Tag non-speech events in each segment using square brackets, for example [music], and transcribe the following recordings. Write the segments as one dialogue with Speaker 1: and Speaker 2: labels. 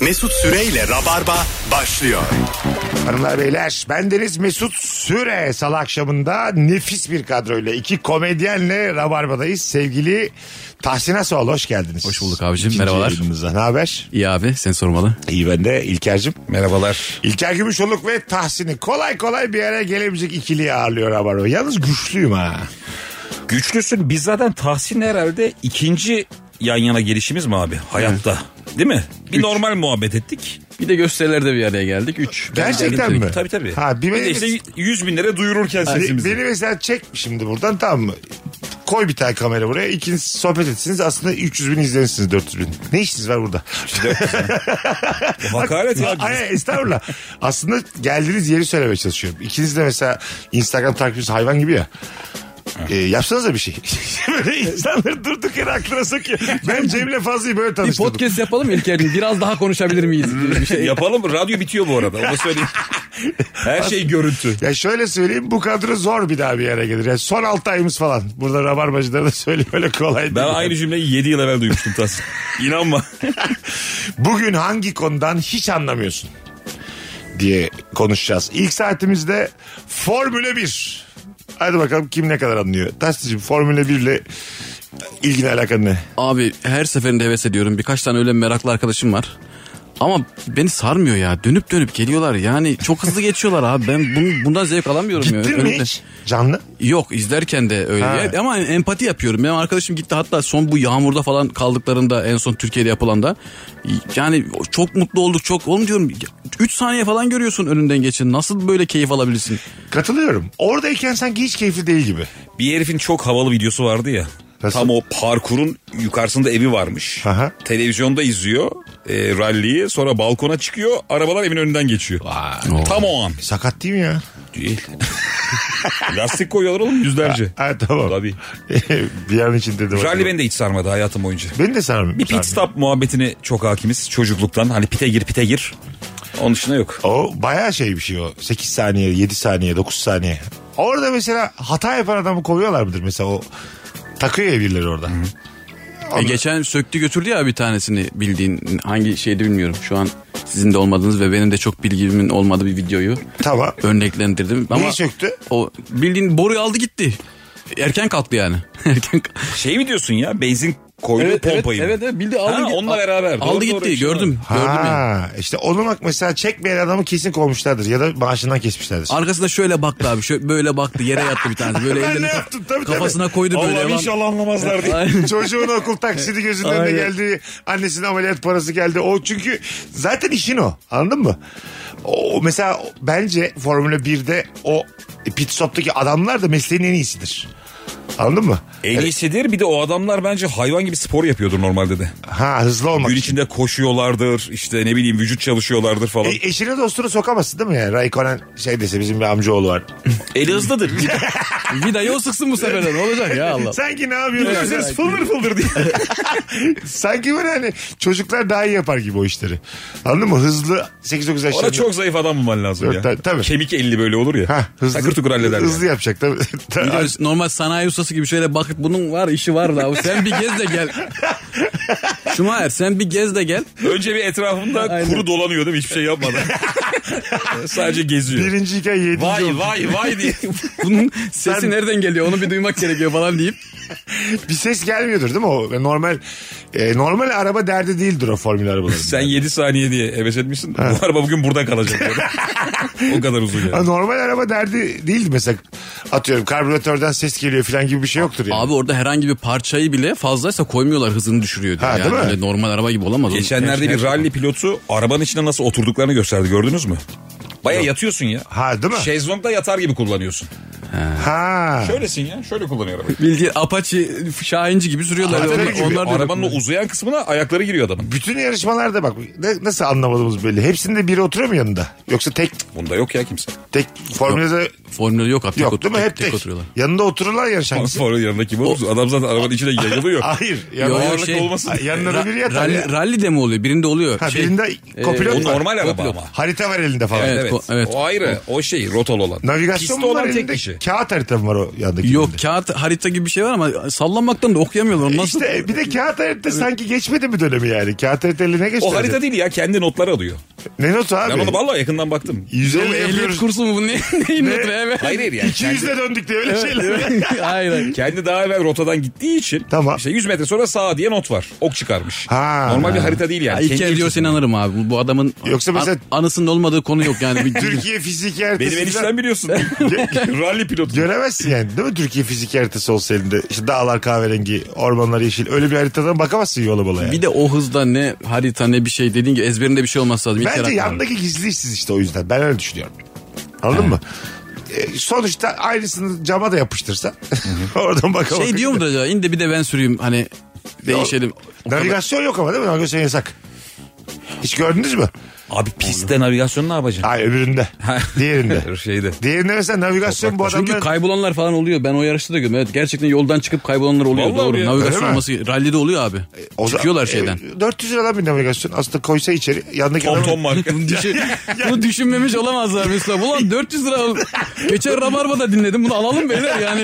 Speaker 1: Mesut Süreyle Rabarba başlıyor.
Speaker 2: Hanımlar beyler bendeniz Mesut Süre salı akşamında nefis bir kadroyla iki komedyenle Rabarba'dayız. Sevgili Tahsin Asoğlu hoş geldiniz.
Speaker 3: Hoş bulduk abicim, merhabalar.
Speaker 2: yayınımıza. Ne haber?
Speaker 3: İyi abi sen sormalı.
Speaker 2: İyi ben de İlker'cim.
Speaker 4: Merhabalar.
Speaker 2: İlker Gümüşoluk ve Tahsin'i kolay kolay bir araya gelemeyecek ikiliyi ağırlıyor Rabarba. Yalnız güçlüyüm ha.
Speaker 4: Güçlüsün. Biz zaten Tahsin herhalde ikinci yan yana gelişimiz mi abi hayatta? Değil mi? Bir normal muhabbet ettik.
Speaker 3: Bir de gösterilerde bir araya geldik. 3.
Speaker 2: Gerçekten mi?
Speaker 4: Tabii tabii.
Speaker 2: Ha, bir
Speaker 4: bir,
Speaker 2: benim-
Speaker 4: de işte 100 bin lira duyururken
Speaker 2: Be-
Speaker 4: sesimizi.
Speaker 2: Beni mesela çek şimdi buradan tamam mı? Koy bir tane kamera buraya. İkiniz sohbet etsiniz. Aslında 300 bin izlenirsiniz 400 bin. Ne işiniz var burada?
Speaker 4: Hakaret ya.
Speaker 2: Ay, ay, estağfurullah. Aslında geldiğiniz yeri söylemeye çalışıyorum. İkiniz de mesela Instagram takipçisi hayvan gibi ya. E, yapsanıza bir şey. [laughs] böyle insanları durduk yere aklına sokuyor. Ben Cem'le Fazlı'yı böyle
Speaker 3: Bir
Speaker 2: tanıştırdım.
Speaker 3: podcast yapalım İlker'cim. Biraz daha konuşabilir miyiz?
Speaker 4: [laughs]
Speaker 3: diye bir şey.
Speaker 4: Yapalım. Radyo bitiyor bu arada. Onu da söyleyeyim. Her şey görüntü.
Speaker 2: Ya şöyle söyleyeyim bu kadro zor bir daha bir yere gelir. Yani son 6 ayımız falan. Burada rabarbacılara da söyleyeyim öyle kolay değil.
Speaker 4: Ben aynı cümleyi 7 yıl evvel duymuştum Tahsin. İnanma.
Speaker 2: Bugün hangi konudan hiç anlamıyorsun diye konuşacağız. İlk saatimizde Formula 1. Hadi bakalım kim ne kadar anlıyor. Taşlıcığım Formula 1 ile ilgili alakan ne?
Speaker 3: Abi her seferinde heves ediyorum. Birkaç tane öyle meraklı arkadaşım var. Ama beni sarmıyor ya. Dönüp dönüp geliyorlar. Yani çok hızlı geçiyorlar abi. Ben bun, bundan zevk alamıyorum. ya.
Speaker 2: Gittin mi
Speaker 3: Önümde-
Speaker 2: hiç? Canlı?
Speaker 3: Yok izlerken de öyle.
Speaker 2: Ha.
Speaker 3: Ya- Ama empati yapıyorum. Benim arkadaşım gitti hatta son bu yağmurda falan kaldıklarında en son Türkiye'de yapılanda. Yani çok mutlu olduk çok. Oğlum diyorum 3 saniye falan görüyorsun önünden geçin. Nasıl böyle keyif alabilirsin?
Speaker 2: Katılıyorum. Oradayken sanki hiç keyifli değil gibi.
Speaker 4: Bir herifin çok havalı videosu vardı ya.
Speaker 2: Nasıl?
Speaker 4: Tam o parkurun yukarısında evi varmış.
Speaker 2: Aha.
Speaker 4: Televizyonda izliyor e, ralliyi. Sonra balkona çıkıyor. Arabalar evin önünden geçiyor. Tam o an.
Speaker 2: Sakat değil mi ya?
Speaker 4: Değil. Lastik koyuyorlar oğlum yüzlerce.
Speaker 2: Ha tamam.
Speaker 4: Tabii.
Speaker 2: [laughs] bir an için dedim.
Speaker 4: Rally beni de hiç sarmadı hayatım boyunca.
Speaker 2: Beni de sanırım.
Speaker 4: Bir pit stop muhabbetini çok hakimiz çocukluktan. Hani pite gir pite gir. Onun dışında yok.
Speaker 2: O bayağı şey bir şey o. 8 saniye, 7 saniye, 9 saniye. Orada mesela hata yapan adamı kovuyorlar mıdır mesela o takıyor ya birileri orada.
Speaker 3: E, geçen söktü götürdü ya bir tanesini bildiğin hangi şeydi bilmiyorum. Şu an sizin de olmadığınız ve benim de çok bilgimin olmadığı bir videoyu
Speaker 2: Tamam.
Speaker 3: örneklendirdim. Ama
Speaker 2: Neyi söktü?
Speaker 3: O bildiğin boruyu aldı gitti. Erken kalktı yani. [laughs] Erken kalktı.
Speaker 4: Şey mi diyorsun ya benzin koydu pompayı mı?
Speaker 3: evet, evet, bildi aldı
Speaker 4: Ha,
Speaker 3: gitti.
Speaker 4: onunla beraber.
Speaker 3: Aldı
Speaker 4: Doğru,
Speaker 3: gitti
Speaker 4: doğru, bir şey
Speaker 3: gördüm. Gördüm yani.
Speaker 2: Ha, işte onu bak mesela çekmeyen adamı kesin kovmuşlardır ya da maaşından kesmişlerdir.
Speaker 3: Arkasında şöyle baktı abi. Şöyle böyle baktı. Yere yattı bir tanesi.
Speaker 2: [laughs]
Speaker 3: Böyle
Speaker 2: Ben
Speaker 3: ellerini
Speaker 2: ne
Speaker 3: kaf-
Speaker 2: yaptım? Tabii, tabii.
Speaker 3: kafasına koydu böyle.
Speaker 4: Allah'ım
Speaker 3: Lan-
Speaker 4: inşallah anlamazlar diye.
Speaker 2: [laughs]
Speaker 3: Aynen.
Speaker 2: Çocuğun okul taksidi gözünün önüne
Speaker 3: Aynen.
Speaker 2: geldi. Annesinin ameliyat parası geldi. O çünkü zaten işin o. Anladın mı? O mesela bence Formula 1'de o pit stop'taki adamlar da mesleğin en iyisidir. Anladın mı?
Speaker 4: En iyisidir bir de o adamlar bence hayvan gibi spor yapıyordur normalde de.
Speaker 2: Ha hızlı olmak.
Speaker 4: Gün
Speaker 2: için.
Speaker 4: içinde koşuyorlardır işte ne bileyim vücut çalışıyorlardır falan.
Speaker 2: E, eşini dostunu sokamazsın değil mi yani? Raikkonen şey dese bizim bir amcaoğlu var.
Speaker 3: Eli hızlıdır. [laughs] Vidayı o sıksın bu sefer. de. Ne olacak ya Allah.
Speaker 2: Sanki ne yapıyorsunuz? Siz fıldır fıldır diye. Sanki böyle hani çocuklar daha iyi yapar gibi o işleri. Anladın mı? Hızlı 8-9 yaşlarında.
Speaker 4: Ona çok zayıf adam bulman lazım
Speaker 2: Evet,
Speaker 4: ya.
Speaker 2: tabii, tabii.
Speaker 4: Kemik elli böyle olur ya.
Speaker 2: Ha, hızlı,
Speaker 4: Takır tukur halleder. yani.
Speaker 2: Hızlı yapacak tabii. [laughs]
Speaker 3: Bir de normal sanayi ustası gibi şöyle bakıp bunun var işi var da sen bir gez de gel.
Speaker 2: [laughs]
Speaker 3: Şumayer sen bir gez de gel.
Speaker 4: Önce bir etrafında
Speaker 3: Aynen.
Speaker 4: kuru dolanıyor değil mi? Hiçbir
Speaker 2: [laughs]
Speaker 4: şey yapmadan. Sadece geziyor.
Speaker 2: Birinciyken yedinci
Speaker 4: Vay
Speaker 2: oldu.
Speaker 4: vay vay diye.
Speaker 3: [laughs] Bunun sesi
Speaker 2: Sen-
Speaker 3: nereden geliyor onu bir duymak gerekiyor falan deyip.
Speaker 2: Bir ses gelmiyordur değil mi o? Normal e, normal araba derdi değildir o formül arabaları.
Speaker 4: [laughs] Sen 7 saniye diye heves etmişsin. Bu araba bugün burada kalacak.
Speaker 2: [laughs]
Speaker 4: o kadar uzun
Speaker 2: Ha,
Speaker 4: yani.
Speaker 2: Normal araba derdi değildi mesela. Atıyorum karbüratörden ses geliyor falan gibi bir şey yoktur yani.
Speaker 3: Abi orada herhangi bir parçayı bile fazlaysa koymuyorlar hızını düşürüyor diye.
Speaker 2: Ha,
Speaker 3: yani
Speaker 2: değil mi?
Speaker 3: öyle normal araba gibi olamaz. Onun
Speaker 4: Geçenlerde bir ralli pilotu arabanın içine nasıl oturduklarını gösterdi gördünüz mü? Baya yatıyorsun ya.
Speaker 2: Ha değil mi?
Speaker 4: Şezlongda yatar gibi kullanıyorsun.
Speaker 2: Ha.
Speaker 4: Şöylesin ya şöyle kullanıyor arabayı.
Speaker 3: Bildiğin Apache Şahinci gibi sürüyorlar.
Speaker 2: Apache
Speaker 3: Onlar,
Speaker 2: gibi.
Speaker 3: onlar da-
Speaker 4: Arabanın o uzayan kısmına ayakları giriyor adamın.
Speaker 2: Bütün yarışmalarda bak ne- nasıl anlamadığımız belli. Hepsinde biri oturuyor mu yanında? Yoksa tek
Speaker 4: Bunda yok
Speaker 2: [laughs]
Speaker 4: ya kimse.
Speaker 2: tek formüle
Speaker 3: Formülü yok artık.
Speaker 2: yok
Speaker 3: otur-
Speaker 2: değil mi?
Speaker 3: tek-
Speaker 2: Hep
Speaker 3: tek
Speaker 2: tek.
Speaker 3: oturuyorlar.
Speaker 2: Yanında oturulan yarış hangisi?
Speaker 4: Sonra yanında kim olursa adam zaten arabanın içine
Speaker 2: [laughs]
Speaker 4: yayılıyor.
Speaker 2: Hayır.
Speaker 3: Yok,
Speaker 2: Yanında,
Speaker 3: yok,
Speaker 4: Ağırlık
Speaker 3: şey-
Speaker 4: olmasın.
Speaker 2: Ha, yanında da biri yatar
Speaker 3: Rally,
Speaker 2: ya.
Speaker 3: rally de mi oluyor? Birinde oluyor.
Speaker 2: Ha,
Speaker 3: Şey,
Speaker 2: birinde kopilot
Speaker 4: O
Speaker 2: var.
Speaker 4: normal araba
Speaker 3: Yok, yok.
Speaker 4: ama.
Speaker 2: Harita var elinde falan.
Speaker 3: Evet,
Speaker 4: Evet.
Speaker 3: ko- evet.
Speaker 4: O ayrı. O şey rotal olan.
Speaker 2: Navigasyon
Speaker 4: Piste
Speaker 2: mu var
Speaker 4: olan tek
Speaker 2: elinde?
Speaker 4: kişi.
Speaker 2: Kağıt harita mı var o yandaki?
Speaker 3: Yok
Speaker 2: elinde?
Speaker 3: kağıt harita gibi bir şey var ama sallanmaktan da okuyamıyorlar. Onu Nasıl?
Speaker 2: İşte e, bir de kağıt harita sanki geçmedi mi dönemi yani? Kağıt harita eline geçmedi.
Speaker 4: O harita değil ya kendi notlar alıyor.
Speaker 2: Ne notu abi?
Speaker 4: Ben onu vallahi yakından baktım.
Speaker 2: 150
Speaker 3: Ehliyet
Speaker 2: yapıyoruz.
Speaker 3: kursu mu bu? Ne, [laughs] neyin notu? Evet.
Speaker 4: Hayır hayır yani.
Speaker 2: 200'le döndük diye öyle
Speaker 3: [laughs]
Speaker 2: şeyler.
Speaker 3: Hayır. hayır.
Speaker 4: Kendi daha evvel rotadan gittiği için
Speaker 2: Tamam.
Speaker 4: işte 100 metre sonra sağa diye not var. Ok çıkarmış.
Speaker 2: Ha.
Speaker 4: Normal bir harita değil
Speaker 3: Ya
Speaker 4: yani.
Speaker 3: ilk
Speaker 4: Kendi
Speaker 3: kez diyorsa
Speaker 4: ölçüsü.
Speaker 3: inanırım abi. Bu- Bu adamın
Speaker 2: Yoksa mesela-
Speaker 3: an- anısının olmadığı konu yok yani. Bir-
Speaker 2: Türkiye fizik
Speaker 4: Benim
Speaker 2: haritası. [laughs]
Speaker 4: enişten biliyorsun. [laughs] Rally pilotu.
Speaker 2: Göremezsin yani değil mi Türkiye fizik haritası olsa elinde. İşte dağlar kahverengi, ormanlar yeşil. Öyle bir haritadan bakamazsın yola bola yani.
Speaker 3: bir de o hızda ne harita ne bir şey dediğin gibi ezberinde bir şey olması lazım. İlk
Speaker 2: Bence
Speaker 3: yaratmalar.
Speaker 2: yandaki gizli işsiz işte o yüzden. Ben öyle düşünüyorum. Anladın mı? E, sonuçta aynısını cama da yapıştırsa [laughs] oradan bakamazsın.
Speaker 3: Şey diyor mu da acaba in de bir de ben süreyim hani değişelim. O kadar-
Speaker 2: Navigasyon yok ama değil mi? Navigasyon yasak. Hiç gördünüz mü?
Speaker 4: Abi pistte navigasyon ne yapacaksın?
Speaker 2: Hayır
Speaker 3: [laughs]
Speaker 2: öbüründe. Diğerinde.
Speaker 4: Şeyde.
Speaker 2: Diğerinde mesela navigasyon bu adamların...
Speaker 3: Çünkü kaybolanlar falan oluyor. Ben o yarışta da gördüm. Evet gerçekten yoldan çıkıp kaybolanlar oluyor.
Speaker 4: Vallahi
Speaker 3: Doğru.
Speaker 4: ya.
Speaker 2: Öyle
Speaker 3: Navigasyon
Speaker 2: mi? E,
Speaker 3: olması rallide oluyor abi.
Speaker 2: O zaman-
Speaker 3: Çıkıyorlar şeyden.
Speaker 2: E, 400 liradan bir navigasyon. Aslında koysa içeri yandaki
Speaker 4: Tom
Speaker 2: adamın-
Speaker 4: Tom [laughs] marka.
Speaker 3: Bunu, düşün- bunu düşünmemiş olamazlar Mesut abi. Ulan 400 lira al- geçen Rabarba'da dinledim. Bunu alalım beyler yani.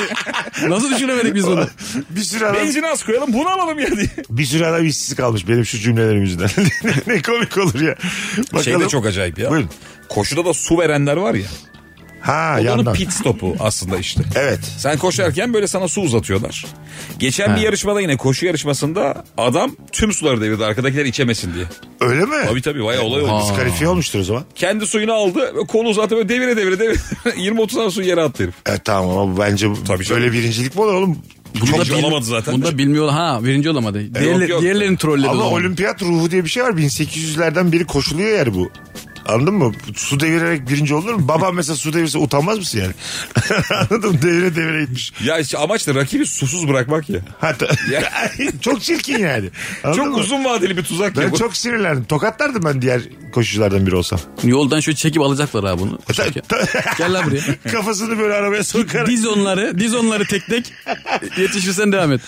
Speaker 3: Nasıl düşünemedik biz bunu?
Speaker 2: [laughs] bir sürü adam,
Speaker 4: Benzin az koyalım bunu alalım ya diye.
Speaker 2: bir sürü adam işsiz kalmış benim şu cümlelerim yüzünden. [laughs] ne komik olur ya. Bakalım.
Speaker 4: Şey de çok acayip ya.
Speaker 2: Buyurun.
Speaker 4: Koşuda da su verenler var ya.
Speaker 2: Ha
Speaker 4: O da
Speaker 2: yandan.
Speaker 4: onun pit stopu
Speaker 2: [laughs]
Speaker 4: aslında işte.
Speaker 2: Evet.
Speaker 4: Sen koşarken böyle sana su uzatıyorlar. Geçen bir yarışmada yine koşu yarışmasında adam tüm suları devirdi arkadakiler içemesin diye.
Speaker 2: Öyle mi?
Speaker 4: Tabii tabii bayağı olay oldu.
Speaker 2: Diskalifiye olmuştur o zaman.
Speaker 4: Kendi suyunu aldı ve kolu uzattı böyle devire devire devire [laughs] 20-30 tane su yere attı herif.
Speaker 2: E tamam ama bence
Speaker 4: Tabii canım.
Speaker 2: böyle birincilik mi olur oğlum?
Speaker 4: Bunu
Speaker 2: Çok-
Speaker 4: da olamadı zaten.
Speaker 3: Bunu da bilmiyor. Ha birinci olamadı. Diğerler,
Speaker 4: yok.
Speaker 3: Diğerlerini trolledi. o
Speaker 2: E, Ama
Speaker 3: zaman.
Speaker 2: olimpiyat ruhu diye bir şey var. 1800'lerden beri koşuluyor yani bu. Anladın mı? Su devirerek birinci olur mu? Babam mesela su devirse utanmaz mısın yani? [laughs] Anladın mı? Devire devire gitmiş.
Speaker 4: Ya işte amaç da rakibi susuz bırakmak ya.
Speaker 2: Hatta,
Speaker 4: Ya.
Speaker 2: [laughs] çok çirkin yani. Anladın
Speaker 4: Çok
Speaker 2: mı?
Speaker 4: uzun vadeli bir tuzak
Speaker 2: Ben
Speaker 4: ya. bu.
Speaker 2: çok sinirlendim. Tokatlardım ben diğer koşuculardan biri olsam.
Speaker 3: Yoldan şöyle çekip alacaklar abi bunu. Şöyle- Gel lan buraya.
Speaker 2: [laughs] Kafasını böyle arabaya sokarak.
Speaker 3: Diz onları, diz onları tek tek. Yetişirsen devam et.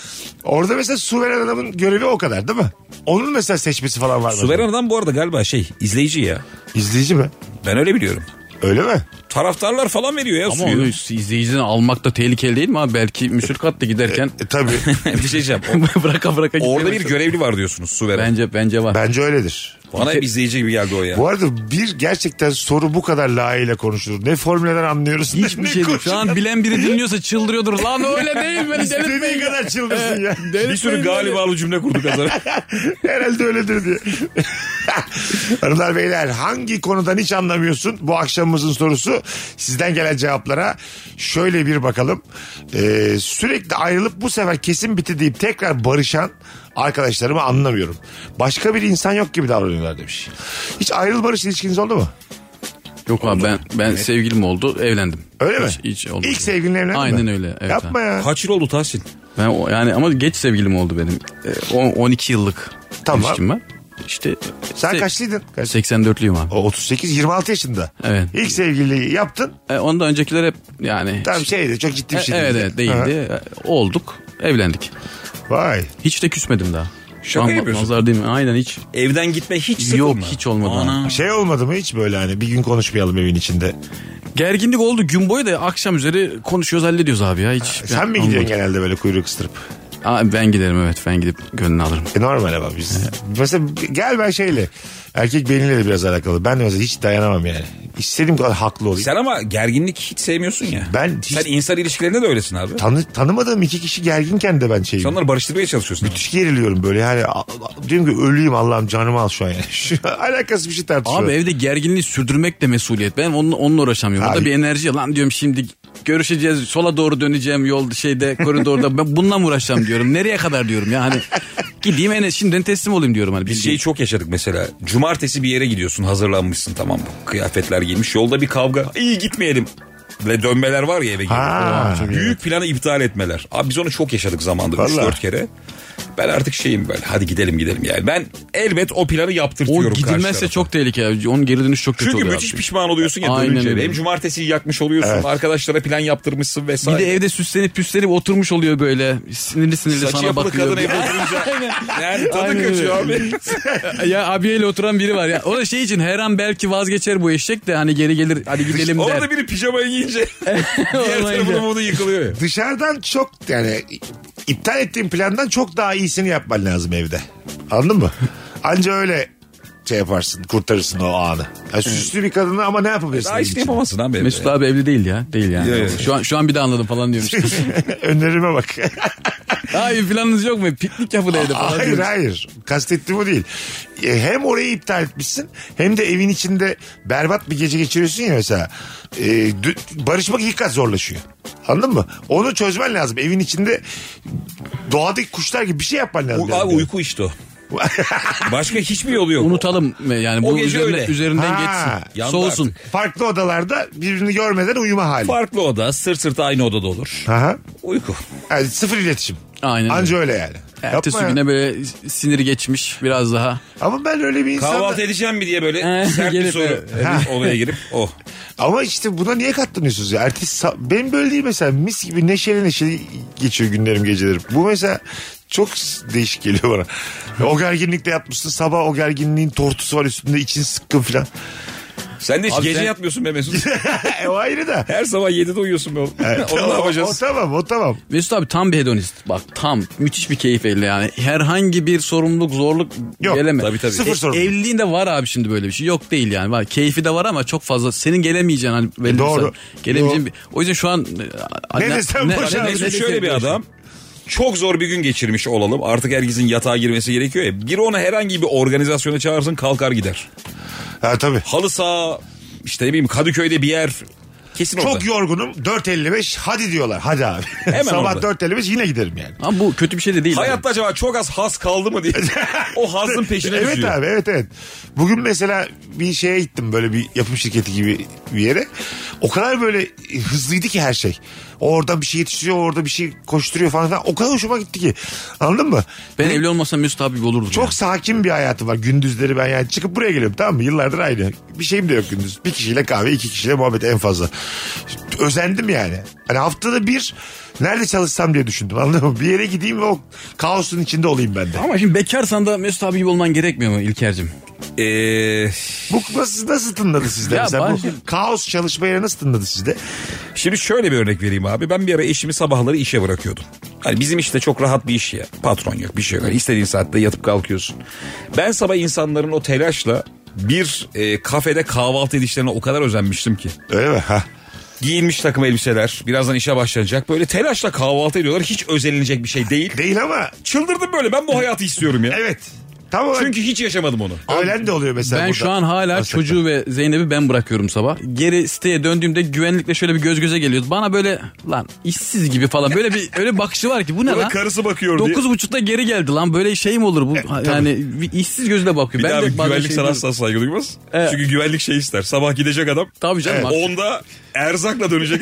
Speaker 2: Orada mesela su veren adamın görevi o kadar değil mi? Onun mesela seçmesi falan var mı?
Speaker 4: Su veren adam bu arada galiba şey izleyici ya.
Speaker 2: İzleyici mi?
Speaker 4: Ben öyle biliyorum.
Speaker 2: Öyle mi?
Speaker 4: Taraftarlar falan veriyor ya
Speaker 3: Ama
Speaker 4: suyu.
Speaker 3: onu izleyiciden almak da tehlikeli değil mi abi? Belki müşrikatla giderken
Speaker 2: E tabii.
Speaker 4: [laughs]
Speaker 3: [laughs]
Speaker 4: bir şey diyeceğim. O-
Speaker 3: bıraka bıraka
Speaker 4: Orada bir
Speaker 3: gidiyor.
Speaker 4: görevli var diyorsunuz su veren.
Speaker 3: Bence bence var.
Speaker 2: Bence öyledir.
Speaker 4: Bana hep izleyici gibi geldi o ya.
Speaker 2: Bu arada bir gerçekten soru bu kadar layığıyla konuşulur. Ne formüleler anlıyoruz ne,
Speaker 3: Hiçbir şey
Speaker 2: koşu-
Speaker 3: değil. Şu an bilen biri dinliyorsa çıldırıyordur. Lan öyle değil beni
Speaker 2: İstediğin
Speaker 3: delirtmeyin.
Speaker 2: kadar çıldırsın ya.
Speaker 4: Bir sürü galibalı cümle kurduk az önce.
Speaker 2: Herhalde öyledir diye. [laughs] Hanımlar beyler hangi konudan hiç anlamıyorsun? Bu akşamımızın sorusu sizden gelen cevaplara şöyle bir bakalım. Ee, sürekli ayrılıp bu sefer kesin bitti deyip tekrar barışan arkadaşlarımı anlamıyorum. Başka bir insan yok gibi davranıyorlar demiş. Hiç ayrıl barış ilişkiniz oldu mu?
Speaker 3: [laughs] Yok abi ben ben sevgilim oldu, evlendim.
Speaker 2: Öyle mi?
Speaker 3: Hiç, hiç olmadı.
Speaker 2: İlk sevgilinle evlendin
Speaker 3: Aynen
Speaker 2: mi?
Speaker 3: öyle, evet
Speaker 2: Yapma ya.
Speaker 4: Kaç yıl oldu Tahsin?
Speaker 3: Ben o- yani ama geç sevgilim oldu benim. Ee, on- 12 yıllık
Speaker 2: Tamam.
Speaker 3: ilişkim var. İşte
Speaker 2: Sen
Speaker 3: se-
Speaker 2: kaçlıydın? Kaç-
Speaker 3: 84'lüyüm abi.
Speaker 2: O 38 26 yaşında.
Speaker 3: Evet.
Speaker 2: İlk sevgiliyi yaptın.
Speaker 3: E, ondan öncekiler hep yani
Speaker 2: Tam şeydi çok ciddi bir
Speaker 3: E,
Speaker 2: şey
Speaker 3: evet evet değildi. E, Olduk, evlendik.
Speaker 2: Ha, Vay.
Speaker 3: Hiç de küsmedim daha. Şu an
Speaker 4: yapıyorsun.
Speaker 3: Nazar değil mi? Aynen hiç.
Speaker 4: Evden gitme hiç
Speaker 3: Yok
Speaker 4: sıkılma.
Speaker 3: hiç olmadı.
Speaker 4: Ana.
Speaker 2: Şey olmadı mı hiç böyle hani bir gün konuşmayalım evin içinde.
Speaker 3: Gerginlik oldu gün boyu da akşam üzeri konuşuyoruz hallediyoruz abi ya. Hiç,
Speaker 2: Sen mi
Speaker 3: Olmadı.
Speaker 2: gidiyorsun genelde böyle kuyruğu kıstırıp?
Speaker 3: Aa, ben giderim evet ben gidip gönlünü alırım.
Speaker 2: E normal ama biz. mesela gel ben şeyle. Erkek beyniyle de biraz alakalı. Ben de mesela hiç dayanamam yani. İstediğim kadar haklı olayım.
Speaker 4: Sen ama gerginlik hiç sevmiyorsun ya.
Speaker 2: Ben hiç-
Speaker 4: Sen insan ilişkilerinde de öylesin abi.
Speaker 2: Tanı, tanımadığım iki kişi gerginken de ben şey şeyim.
Speaker 4: Sen onları barıştırmaya çalışıyorsun.
Speaker 2: Müthiş geriliyorum böyle yani a- a- diyorum ki ölüyüm Allah'ım canımı al şu an yani. [laughs] Şu an alakasız bir şey tartışıyorum.
Speaker 3: Abi evde gerginliği sürdürmek de mesuliyet. Ben onun, onunla uğraşamıyorum.
Speaker 2: Abi-
Speaker 3: Burada bir enerji lan diyorum şimdi görüşeceğiz sola doğru döneceğim yol şeyde koridorda ben bununla mı uğraşacağım diyorum. Nereye kadar diyorum ya hani gideyim en şimdiden teslim olayım diyorum hani.
Speaker 4: Biz şeyi çok yaşadık mesela. Cumartesi bir yere gidiyorsun hazırlanmışsın tamam mı? Kıyafetler giymiş. Yolda bir kavga. İyi gitmeyelim. dönmeler var ya eve gelip.
Speaker 2: Ha. Çok iyi.
Speaker 4: Büyük planı iptal etmeler. Abi biz onu çok yaşadık zamanda
Speaker 2: Vallahi.
Speaker 4: 3-4 kere. Ben artık şeyim böyle hadi gidelim gidelim yani. Ben elbet o planı
Speaker 3: O
Speaker 4: yaptırtıyorum. karşı
Speaker 3: gidilmezse
Speaker 4: tarafa.
Speaker 3: çok tehlikeli. Onun geri dönüşü çok kötü
Speaker 4: Çünkü
Speaker 3: oluyor.
Speaker 4: müthiş
Speaker 3: abi.
Speaker 4: pişman oluyorsun ya
Speaker 3: Aynen
Speaker 4: dönünce.
Speaker 3: öyle.
Speaker 4: Hem cumartesi yakmış oluyorsun. Arkadaşlara plan yaptırmışsın
Speaker 3: Bir
Speaker 4: vesaire.
Speaker 3: de evde süslenip püslenip oturmuş oluyor böyle. Sinirli sinirli
Speaker 4: Saçı
Speaker 3: sana
Speaker 4: yapılı
Speaker 3: bakıyor.
Speaker 4: kadın
Speaker 3: [laughs]
Speaker 4: evde oturunca. yani tadı
Speaker 3: Aynen
Speaker 4: kaçıyor abi.
Speaker 3: [laughs] ya abiyeyle oturan biri var ya. O da şey için her an belki vazgeçer bu eşek de hani geri gelir hadi gidelim der.
Speaker 4: Orada biri pijamayı giyince
Speaker 3: [laughs]
Speaker 4: diğer
Speaker 3: Olmayınca.
Speaker 4: tarafının umudu yıkılıyor. ya.
Speaker 2: Dışarıdan çok yani iptal ettiğin plandan çok daha iyisini yapman lazım evde. Anladın mı? Anca öyle şey yaparsın kurtarırsın o anı. Ya süslü bir kadını ama ne yapabilirsin?
Speaker 4: Daha
Speaker 2: onun
Speaker 4: işini
Speaker 2: için?
Speaker 4: yapamazsın abi. evde.
Speaker 3: Mesut abi evli değil ya. Değil yani.
Speaker 4: Ya, ya.
Speaker 3: Şu an şu an bir de anladım
Speaker 4: [laughs]
Speaker 3: falan diyormuş.
Speaker 2: [laughs] Önerime bak.
Speaker 3: Hayır planınız yok mu? Piknik yapın evde falan.
Speaker 2: hayır
Speaker 3: diyormuş.
Speaker 2: hayır. Kastettiğim o değil. E, Hem orayı iptal etmişsin hem de evin içinde berbat bir gece geçiriyorsun ya mesela. E, dü- barışmak ilk kat zorlaşıyor. Anladın mı? Onu çözmen lazım. Evin içinde doğadaki kuşlar gibi bir şey yapman lazım.
Speaker 4: U- abi uyku işte o. Başka hiçbir yolu yok.
Speaker 3: Unutalım mı? yani
Speaker 4: O
Speaker 3: bu
Speaker 4: gece
Speaker 3: üzerine,
Speaker 4: öyle.
Speaker 3: üzerinden
Speaker 2: Ha,
Speaker 3: geçsin.
Speaker 4: yandı
Speaker 3: Soğusun.
Speaker 4: artık.
Speaker 2: Farklı odalarda birbirini görmeden uyuma hali.
Speaker 4: Farklı oda, sırt sırta aynı odada olur.
Speaker 2: Aha.
Speaker 4: Uyku.
Speaker 2: Yani sıfır iletişim.
Speaker 3: Aynen
Speaker 2: Anca öyle yani.
Speaker 3: Ertesi
Speaker 2: Yapma ya.
Speaker 3: güne böyle siniri geçmiş biraz daha.
Speaker 2: Ama ben öyle bir insanım.
Speaker 4: Kahvaltı edeceğim mi diye böyle
Speaker 3: Eh,
Speaker 4: sert bir
Speaker 3: gelip,
Speaker 4: soru.
Speaker 3: evet.
Speaker 4: Ha. Olaya girip "Oh." o.
Speaker 2: Ama işte buna niye katlanıyorsunuz ya? Ertesi sa- benim böyle değil mesela mis gibi neşeli neşeli geçiyor günlerim gecelerim. Bu mesela çok s- değişik geliyor bana. O gerginlikte yatmışsın sabah o gerginliğin tortusu var üstünde için sıkkın filan. [laughs]
Speaker 4: Sen de hiç
Speaker 3: Abi
Speaker 4: gece
Speaker 3: sen-
Speaker 4: yatmıyorsun be Mesut.
Speaker 2: E, o ayrı da.
Speaker 4: Her sabah 7'de uyuyorsun be oğlum. [laughs] Onu
Speaker 2: Tamam,
Speaker 4: ne
Speaker 2: o,
Speaker 4: yapacağız?
Speaker 2: tamam o tamam.
Speaker 3: Mesut abi tam bir hedonist. Bak tam müthiş bir keyif elde yani. Herhangi bir sorumluluk, zorluk
Speaker 2: Yok,
Speaker 3: geleme. E,
Speaker 4: tabii, tabii.
Speaker 2: Sıfır sorumluluk.
Speaker 3: Evliliğin de var abi şimdi böyle bir şey. Yok değil yani. Var. Keyfi de var ama çok fazla. Senin gelemeyeceğin hani belli bir
Speaker 2: E, Doğru.
Speaker 3: saat. Gelemeyeceğin
Speaker 2: Doğru.
Speaker 3: bir- O yüzden şu an... e,
Speaker 2: Ne desem boşa.
Speaker 3: ne- ne-
Speaker 4: Mesut
Speaker 3: ne-
Speaker 4: şöyle bir adam. Çok zor bir gün geçirmiş olalım. Artık herkesin yatağa girmesi gerekiyor ya. Biri ona herhangi bir organizasyona çağırsın kalkar gider.
Speaker 2: Ha tabii.
Speaker 4: Halı saha işte ne bileyim Kadıköy'de bir yer. Kesin orada.
Speaker 2: Çok yorgunum 4.55 hadi diyorlar hadi abi. [laughs]
Speaker 4: Hemen
Speaker 2: sabah
Speaker 4: orada.
Speaker 2: 4.55 yine giderim yani.
Speaker 3: Ama bu kötü bir şey de değil.
Speaker 4: Hayatta acaba çok az has kaldı mı diye. o hazın peşine
Speaker 2: evet
Speaker 4: düşüyor.
Speaker 2: abi evet evet. Bugün mesela bir şeye gittim böyle bir yapım şirketi gibi bir yere. O kadar böyle hızlıydı ki her şey. Oradan bir şey yetiştiriyor orada bir şey koşturuyor falan filan. O kadar hoşuma gitti ki. Anladın mı?
Speaker 3: Ben evli olmasam Mesut abi gibi olurdum.
Speaker 2: Çok
Speaker 3: yani.
Speaker 2: sakin bir hayatım var. Gündüzleri ben yani çıkıp buraya geliyorum tamam mı? Yıllardır aynı. Bir şeyim de yok gündüz. Bir kişiyle kahve, iki kişiyle muhabbet en fazla. Özendim yani. Hani haftada bir nerede çalışsam diye düşündüm anladın mı? Bir yere gideyim ve o kaosun içinde olayım ben de.
Speaker 3: Ama şimdi bekarsan da Mesut abi gibi olman gerekmiyor mu İlker'cim?
Speaker 4: Ee,
Speaker 2: Bu nasıl, nasıl tınladı sizde
Speaker 3: Ya
Speaker 2: mesela? Bu
Speaker 3: bazen-
Speaker 2: kaos çalışma yeri nasıl tınladı sizde?
Speaker 4: şimdi şöyle bir örnek vereyim abi. Ben bir ara eşimi sabahları işe bırakıyordum. Hani bizim işte çok rahat bir iş ya. Patron yok bir şey yok. Hani istediğin saatte yatıp kalkıyorsun. Ben sabah insanların o telaşla bir e, kafede kahvaltı edişlerine o kadar özenmiştim ki.
Speaker 2: Öyle mi? Ha.
Speaker 4: Giyinmiş takım elbiseler. Birazdan işe başlanacak. Böyle telaşla kahvaltı ediyorlar. Hiç özenilecek bir şey değil.
Speaker 2: Değil ama
Speaker 4: Çıldırdım böyle. Ben bu hayatı istiyorum ya.
Speaker 2: evet. Tam olarak
Speaker 4: Çünkü hiç yaşamadım onu.
Speaker 2: öğlen de oluyor mesela
Speaker 3: Ben
Speaker 2: burada.
Speaker 3: şu an hala
Speaker 2: Aslında.
Speaker 3: çocuğu ve Zeynep'i ben bırakıyorum sabah. Geri siteye döndüğümde güvenlikle şöyle bir göz göze geliyoruz. Bana böyle lan işsiz gibi falan
Speaker 4: [laughs]
Speaker 3: böyle bir öyle bir bakışı var ki bu ne
Speaker 4: Buna
Speaker 3: lan?
Speaker 4: karısı bakıyor diye. E,
Speaker 3: Dokuz buçukta geri geldi lan böyle şey mi olur bu? yani bir işsiz gözle bakıyor.
Speaker 4: Bir daha bir
Speaker 3: bazen
Speaker 4: güvenlik
Speaker 3: şey
Speaker 4: sana
Speaker 3: diyorum.
Speaker 4: asla saygı duymaz.
Speaker 3: Evet.
Speaker 4: Çünkü güvenlik şey ister. Sabah gidecek adam.
Speaker 3: Tabii canım.
Speaker 4: E,
Speaker 3: bak.
Speaker 4: [laughs] Onda erzakla [laughs] dönecek.